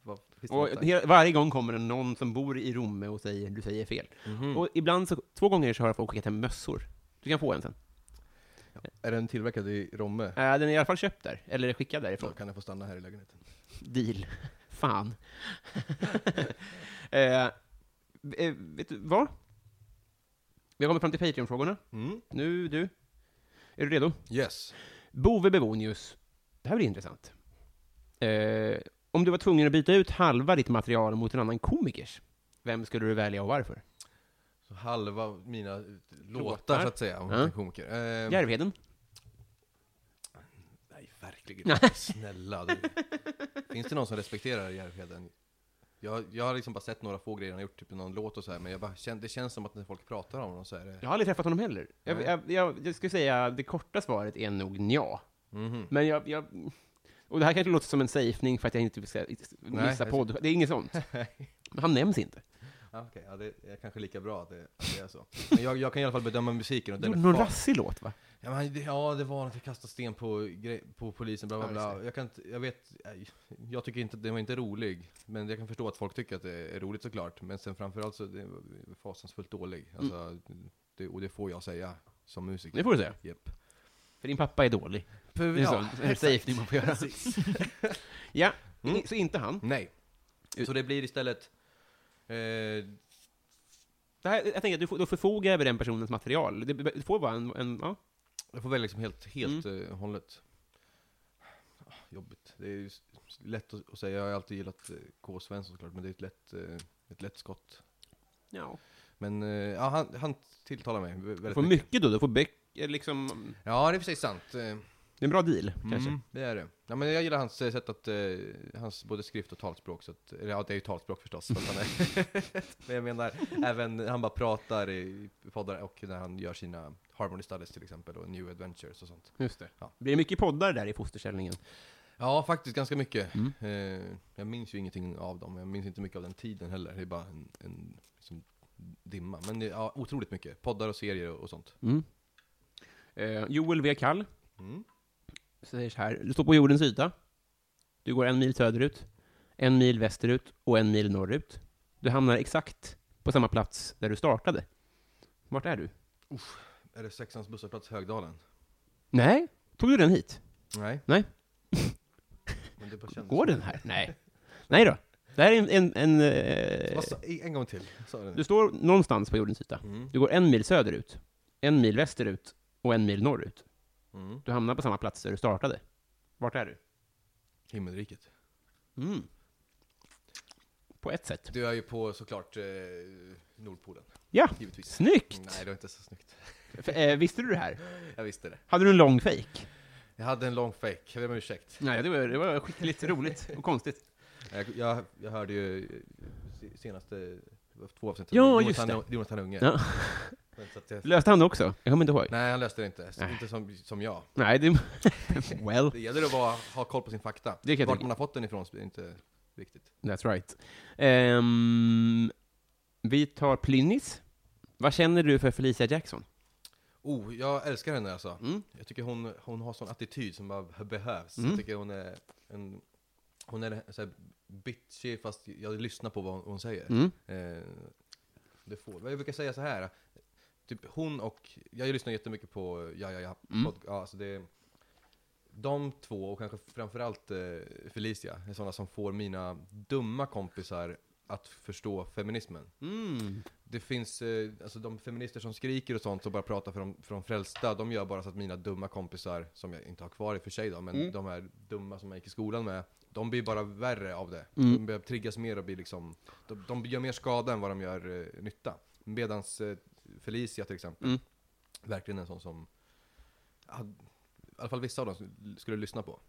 Vad, finns det Och något där? he- varje gång kommer det någon som bor i Romme och säger du säger fel. Och ibland, så, två gånger så har jag folk skickat hem mössor. Du kan få en sen. Är den tillverkad i Romme? Äh, den är i alla fall köpt där, eller skickad Då därifrån. kan den få stanna här i lägenheten. Deal. Fan. eh, eh, vet du vad? Vi har kommit fram till Patreon-frågorna. Mm. Nu du. Är du redo? Yes. Bove Bevonius. Det här blir intressant. Eh, om du var tvungen att byta ut halva ditt material mot en annan komikers, vem skulle du välja och varför? Så halva mina låtar, Låtar. så att säga, om Ja. man är komiker. Eh, Järvheden? Nej, verkligen inte. Snälla du. Finns det någon som respekterar Järvheden? Jag, jag har liksom bara sett några få grejer han har gjort, typ någon låt och så här, men jag bara, kän- det känns som att när folk pratar om honom så är det... Jag har aldrig träffat honom heller. Jag, Nej. jag, jag, jag skulle säga det korta svaret är nog nja. Mhm. Men jag, jag... Och det här kanske låter som en safening för att jag inte ska missa Nej. podd. Det är inget sånt. Men han nämns inte. Ja, okej, ja, det är kanske lika bra att det, att det är så. Men jag, jag kan i alla fall bedöma musiken och Du den gjorde är någon fan- rassig låt, va? ja, men, det- ja, det var att jag kastade sten på, gre- på polisen, bla bla Ja, just bla. Jag kan inte, jag vet, nej, jag tycker inte, den var inte rolig. Men jag kan förstå att folk tycker att det är roligt såklart. Men sen framförallt så, det var fasansfullt dålig. Alltså, det, och det får jag säga som musiker. Mm. Det får du säga. Japp. För din pappa är dålig. Det är ja, så, en safening man får göra. ja, så inte han. Nej. Så det blir istället... Eh, Det här, jag tänker att du får, då förfogar över den personens material. Det, det får vara en... en ja. jag får välja liksom helt, helt Mm. eh, hållet. Ah, Jobbigt. Det är ju s- lätt att att säga. Jag har alltid gillat eh, K. Svensson såklart, men det är ett lätt, eh, ett lätt skott. ja. Men eh, ja, han, han tilltalar mig vä- Du väldigt får mycket då. Du får böcker, liksom... Ja, det är i och för sig sant. Eh, Det är en bra deal, kanske. mm, det är det. Ja, men jag gillar hans eh, sätt att... Eh, hans både skrift och talspråk. Så att, eller ja, det är ju talspråk förstås. för att han är, men jag menar, även han bara pratar i poddar och när han gör sina Harmony Studies till exempel och New Adventures och sånt. Just det. Ja. Blir det mycket poddar där i fosterställningen? Ja, faktiskt ganska mycket. Mm. Eh, jag minns ju ingenting av dem. Jag minns inte mycket av den tiden heller. Det är bara en, en liksom, dimma. Men eh, ja, otroligt mycket. Poddar och serier och, och sånt. Mm. Eh, Joel V. Kall Mm. säger så här. Du står på jordens yta. Du går en mil söderut, en mil västerut och en mil norrut. Du hamnar exakt på samma plats där du startade. Vart är du? Är det sexans busshållplats Högdalen? Nej, tog du den hit? Nej. Nej. Men det bara kändes- Går den här? Nej. Nej då. Det här är en... en, en eh, Vad sa- en gång till. Sa du du det? står någonstans på jordens yta. Mm. Du går en mil söderut, en mil västerut och en mil norrut. Mm. Du hamnar på samma plats där du startade. Vart är du? Mm. Himmelriket. På ett sätt. Du är ju på såklart eh, Nordpolen. Ja, Givetvis. snyggt! Nej, det var inte så snyggt. F- eh, visste du det här? Jag visste det. Hade du en lång fejk? Jag hade en lång fake. Jag ber om ursäkt. Nej, det var, det var skickligt roligt och konstigt. Jag, Eh, jag, jag hörde ju eh, se- senaste det var två avsnitt. Ja, Jonas just Han- det. Jonas Tanunge. Ja. Men så att jag- Löste han det också? Jag kommer inte ihåg. Nej, han löste det inte. Så Nej. Inte som, som jag. Nej, det... well, Det gäller att vara, ha koll på sin fakta. Det kan jag Vart tycka. man har fått den ifrån är inte viktigt. that's right. Ehm, vi tar Plynnis. Vad känner du för Felicia Jackson? Oh, jag älskar henne alltså. Mm. Jag tycker hon, hon har sån attityd som bara behövs. Mm. Jag tycker hon är en, hon är så här bitchy fast jag lyssnar på vad hon, hon säger. Mm. Eh, det får, jag brukar säga så här. Typ hon och, jag lyssnar jättemycket på Ja Ja Ja, Mm. pod, ja alltså det, de två och kanske framförallt eh, Felicia är sådana som får mina dumma kompisar att förstå feminismen. Det finns, eh, alltså de feminister som skriker och sånt och bara pratar för de, för de frälsta, de gör bara så att mina dumma kompisar, som jag inte har kvar i och för sig då, men Mm. de här dumma som jag gick i skolan med, de blir bara värre av det. Mm. De börjar triggas mer och blir liksom, de, de gör mer skada än vad de gör eh, nytta. Medans eh, Felicia till exempel, Mm. verkligen en sån som, ja, i alla fall vissa av dem skulle- skulle lyssna på.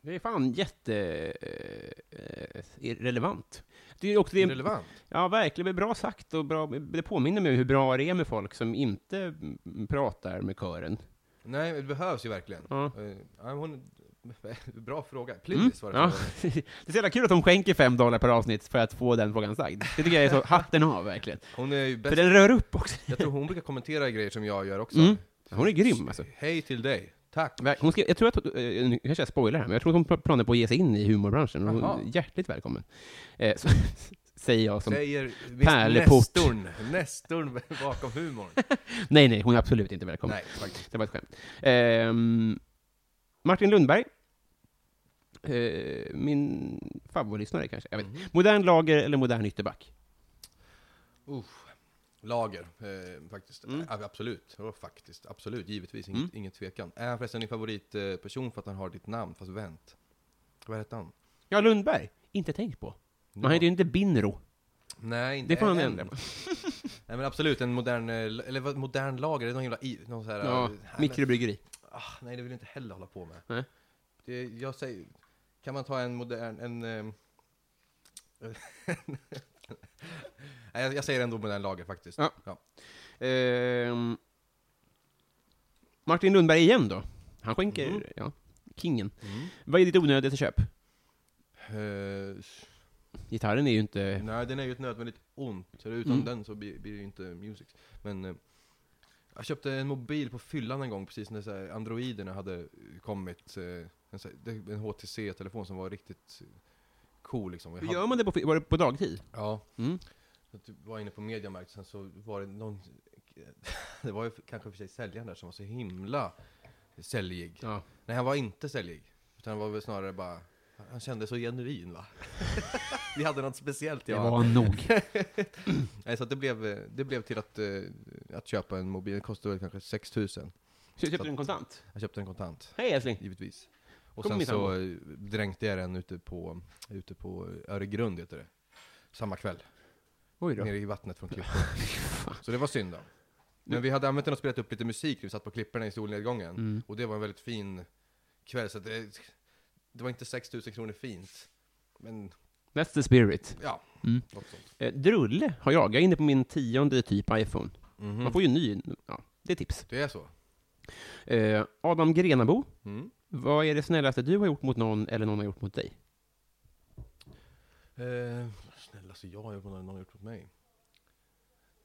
Det är fan jätte... eh, eh, irrelevant. Det är också det... Irrelevant. Ja, verkligen. Det är bra sagt och bra... Det påminner mig hur bra det är med folk som inte mm, pratar med kören. Nej, det behövs ju verkligen. Ja. Mm. Eh, ja, hon, bra fråga. Plynnis var det. Ja. frågan. Det är så jävla kul att de skänker fem dollar per avsnitt för att få den frågan sagd. Det tycker jag är så hatten av verkligen. Hon är ju bäst För den rör upp också. Jag tror hon brukar kommentera grejer som jag gör också. Mm. Hon är grym alltså. Hej till dig. Tack. Ver- Hon skrev, jag tror att, eh, nu kanske jag spoilar här, men jag tror att hon pl- planerar på att ge sig in i humorbranschen. Hon Jaha. är hjärtligt välkommen. Eh, så, säger jag som... Säger visst pärleport. Nestorn. Nestorn bakom humorn. Nej, nej, hon är absolut inte välkommen. Nej, faktiskt. Det var ett skämt. Ehm, Martin Lundberg. Eh, min favoritlyssnare kanske. Jag vet. inte. Modern lager eller modern ytterback? Uff. Lager, eh, faktiskt. Mm. Ja, absolut. Ja, faktiskt. Absolut, givetvis. Inget, inget tvekan. Är förresten din favoritperson eh, person för att han har ditt namn, fast vänt. Vad hette han? Ja, Lundberg. Inte tänkt på. Man heter ju inte Binro. Nej, inte Det får han än. ändra på. Nej men absolut, en modern, eh, eller vad, modern lager, det är någon jävla, i- någon så här, Ja, eh, nej, men- mikrobryggeri. Ah, nej, det vill jag inte heller hålla på med. Nej. Det, jag säger, kan man ta en modern, en... ehm, nej, jag, jag säger ändå modern lager faktiskt. Ja. Ja. Ehm, Martin Lundberg igen då. Han skänker, ja, kingen. Vad är ditt onödigaste köp? Eh, Gitarren är ju inte... nej, den är ju ett nödvändigt ont, så utan Mm. den så blir, blir det ju inte music. Men eh, jag köpte en mobil på fyllan en gång, precis när så här, androiderna hade kommit. Eh, en, så här- det- en HTC-telefon som var riktigt cool liksom. Och jag Hur hade- gör man det på, var det på dagtid? Ja. Mm. Så att du var inne på Mediamarkt, sen så var det någon... Det var ju kanske för sig säljaren där som var så himla säljig. Ja. Nej, han var inte säljig. Utan han var väl snarare bara... Han kände så genuin va? Vi hade något speciellt Det ja. var nog. Nej, så att det blev, det blev till att, eh, att köpa en mobil. Det kostade väl kanske 6000. Så köpte du en kontant? Jag köpte en kontant, Hej älskling! givetvis. Och Kom sen min så eh, dränkte jag den ute på, ute på Öregrund, heter det. Samma kväll. Oj då. nere i vattnet från klipporna. så det var synd då. Men vi hade använt den och spelat upp lite musik, vi satt på klipporna i solnedgången. Och det var en väldigt fin kväll, så att det, det var inte 6000 kronor fint. Men That's the spirit. ja, något sånt. Eh, drulle har jag. Jag är inne på min tionde typ iPhone. Man får ju en ny. Ja, det är tips. Mhm. Det är så. Eh, Adam Grenabo. Mm. Vad är det snällaste du har gjort mot någon eller någon har gjort mot dig? Eh, snälla, så jag har gjort något någon har gjort mot mig.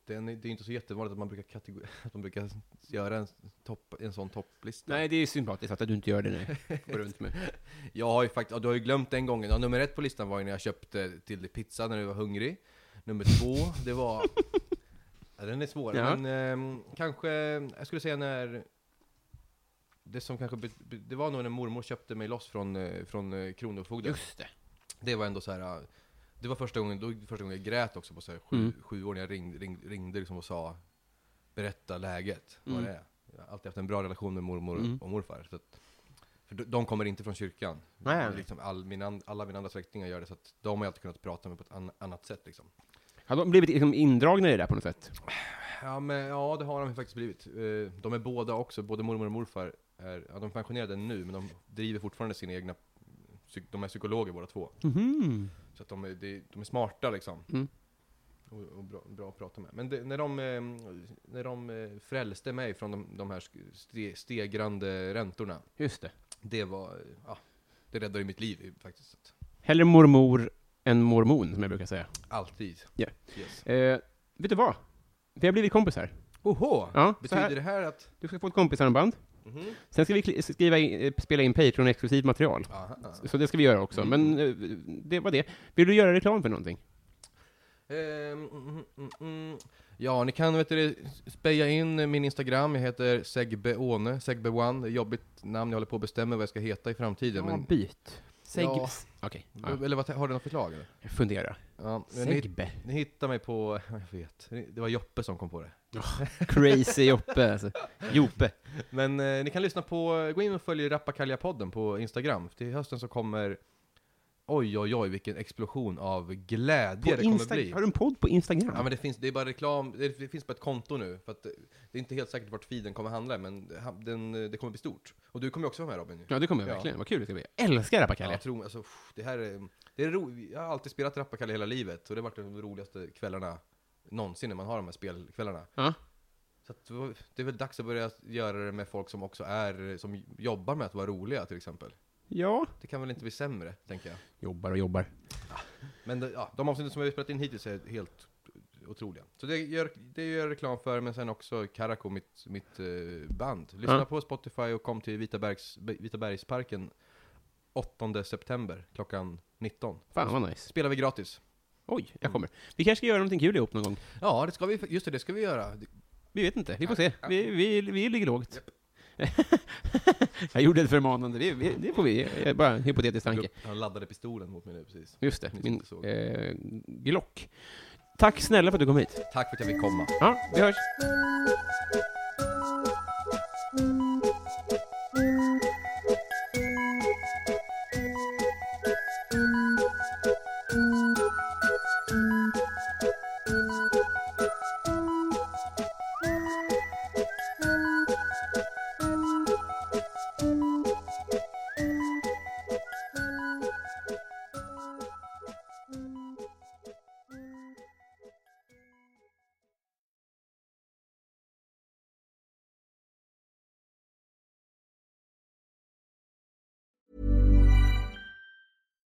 Den, är- det är inte så jättevanligt att man brukar, kategori- att man brukar göra en, topp, en sån topplista. Nej, det är sympatiskt att du inte gör det nu. Går runt med. Jag har ju faktiskt, ja, du har ju glömt den gången. Ja, nummer ett på listan var ju när jag köpte till dig pizza när du var hungrig. Nummer två, det var... ja, den är svår, Ja. men ehm, kanske, jag skulle säga när... Det som kanske, be- be- det var nog när mormor köpte mig loss från, eh, från eh, Kronofogden. Just det. Det var ändå så här. ah, Det var första gången, då, första gången jag grät också på så här, sju, Mm. sju år, när jag ringde, ring, ringde liksom och sa Berätta läget, Mm. vad det är. Jag har alltid haft en bra relation med mormor och morfar. Så att, för de, de kommer inte från kyrkan. Nej. Liksom all, min, an- alla mina andra släktingar gör det, så att de har jag alltid kunnat prata med på ett an, annat sätt. Liksom. Har de blivit liksom indragna i det där på något sätt? Ja, men, ja, det har de ju faktiskt blivit. Eh, De är båda också, både mormor och morfar, är, ja, de är pensionerade nu, men de driver fortfarande sina egna... psyk- De är psykologer båda två. Så att de är, de, de är smarta liksom. Och, och bra, bra att prata med. Men det, när de, eh, när de eh, frälste mig från de, de här sk- ste, stegrande räntorna, Just det. det var... eh, Ja, det räddade ju mitt liv eh, faktiskt. Så att, Hellre mormor än mormon, som jag brukar säga. alltid. Ja. Yes. Eh, vet du vad? Vi har blivit kompisar. Oho! Ja, så Betyder här- det här att... Du ska få ett kompisarmband. Mhm. Sen ska vi kli- skriva in, eh, spela in Patreon-exklusivt material. Aha. Så det ska vi göra Mm. också. Men eh, det var det. Vill du göra reklam för någonting? Ehm, mm, mm, mm. Ja, ni kan vet du, speja in min Instagram, jag heter segbeone, segbeone, jobbigt namn, jag håller på att bestämma vad jag ska heta i framtiden. men, byt. Seg... Ja. s- Okej. Ja. Eller vad, har du något förslag? Eller? Fundera. Ja, men ni, hitt- Segbe. ni hittar mig på, jag vet, det var Joppe som kom på det. Crazy Joppe, alltså. Joppe. Men eh, ni kan lyssna på, gå in och följ Rappakalja-podden på Instagram, till hösten så kommer Oj, oj, oj, vilken explosion av glädje det kommer bli. Har du en podd på Instagram? Ja men det finns, det är bara reklam, det det finns bara ett konto nu, för att eh, det är inte helt säkert vart feeden kommer handla, men ha- den, eh, det kommer bli stort. Och du kommer ju också vara med Robin ju. Ja, det kommer jag Ja. verkligen. Vad kul det ska bli. Jag älskar Rappakalja. Ja, tro, alltså, pff, det här är, det är ro, jag har alltid spelat Rappakalle hela livet, och det har varit de roligaste kvällarna någonsin när man har de här spelkvällarna. Ja. Så att, det var- det är väl dags att börja göra det med folk som också är, som jobbar med att vara roliga till exempel. ja. Det kan väl inte bli sämre, tänker jag. Jobbar och jobbar. Men eh, ja, de avsnitten som vi har spelat in hittills är helt otroliga. Så det gör, det gör jag reklam för, men sen också Karako, mitt, mitt eh, band. Lyssna Ja. på Spotify och kom till Vitabergs, Vitabergsparken 8 september klockan 19. Fan vad nice. Spelar vi gratis. Oj, jag kommer. Vi kanske ska göra någonting kul ihop någon gång. Ja, det ska vi, just det, det ska vi göra. Vi vet inte, vi får se. Vi, vi, vi ligger lågt. jag gjorde ett förmanande, det, det det får vi, eh, bara en hypotetisk tanke. Han laddade pistolen mot mig nu precis. Just det, Ni min såg. eh, Glock. Tack snälla för att du kom hit. Tack för att jag fick komma. Ja, vi hörs.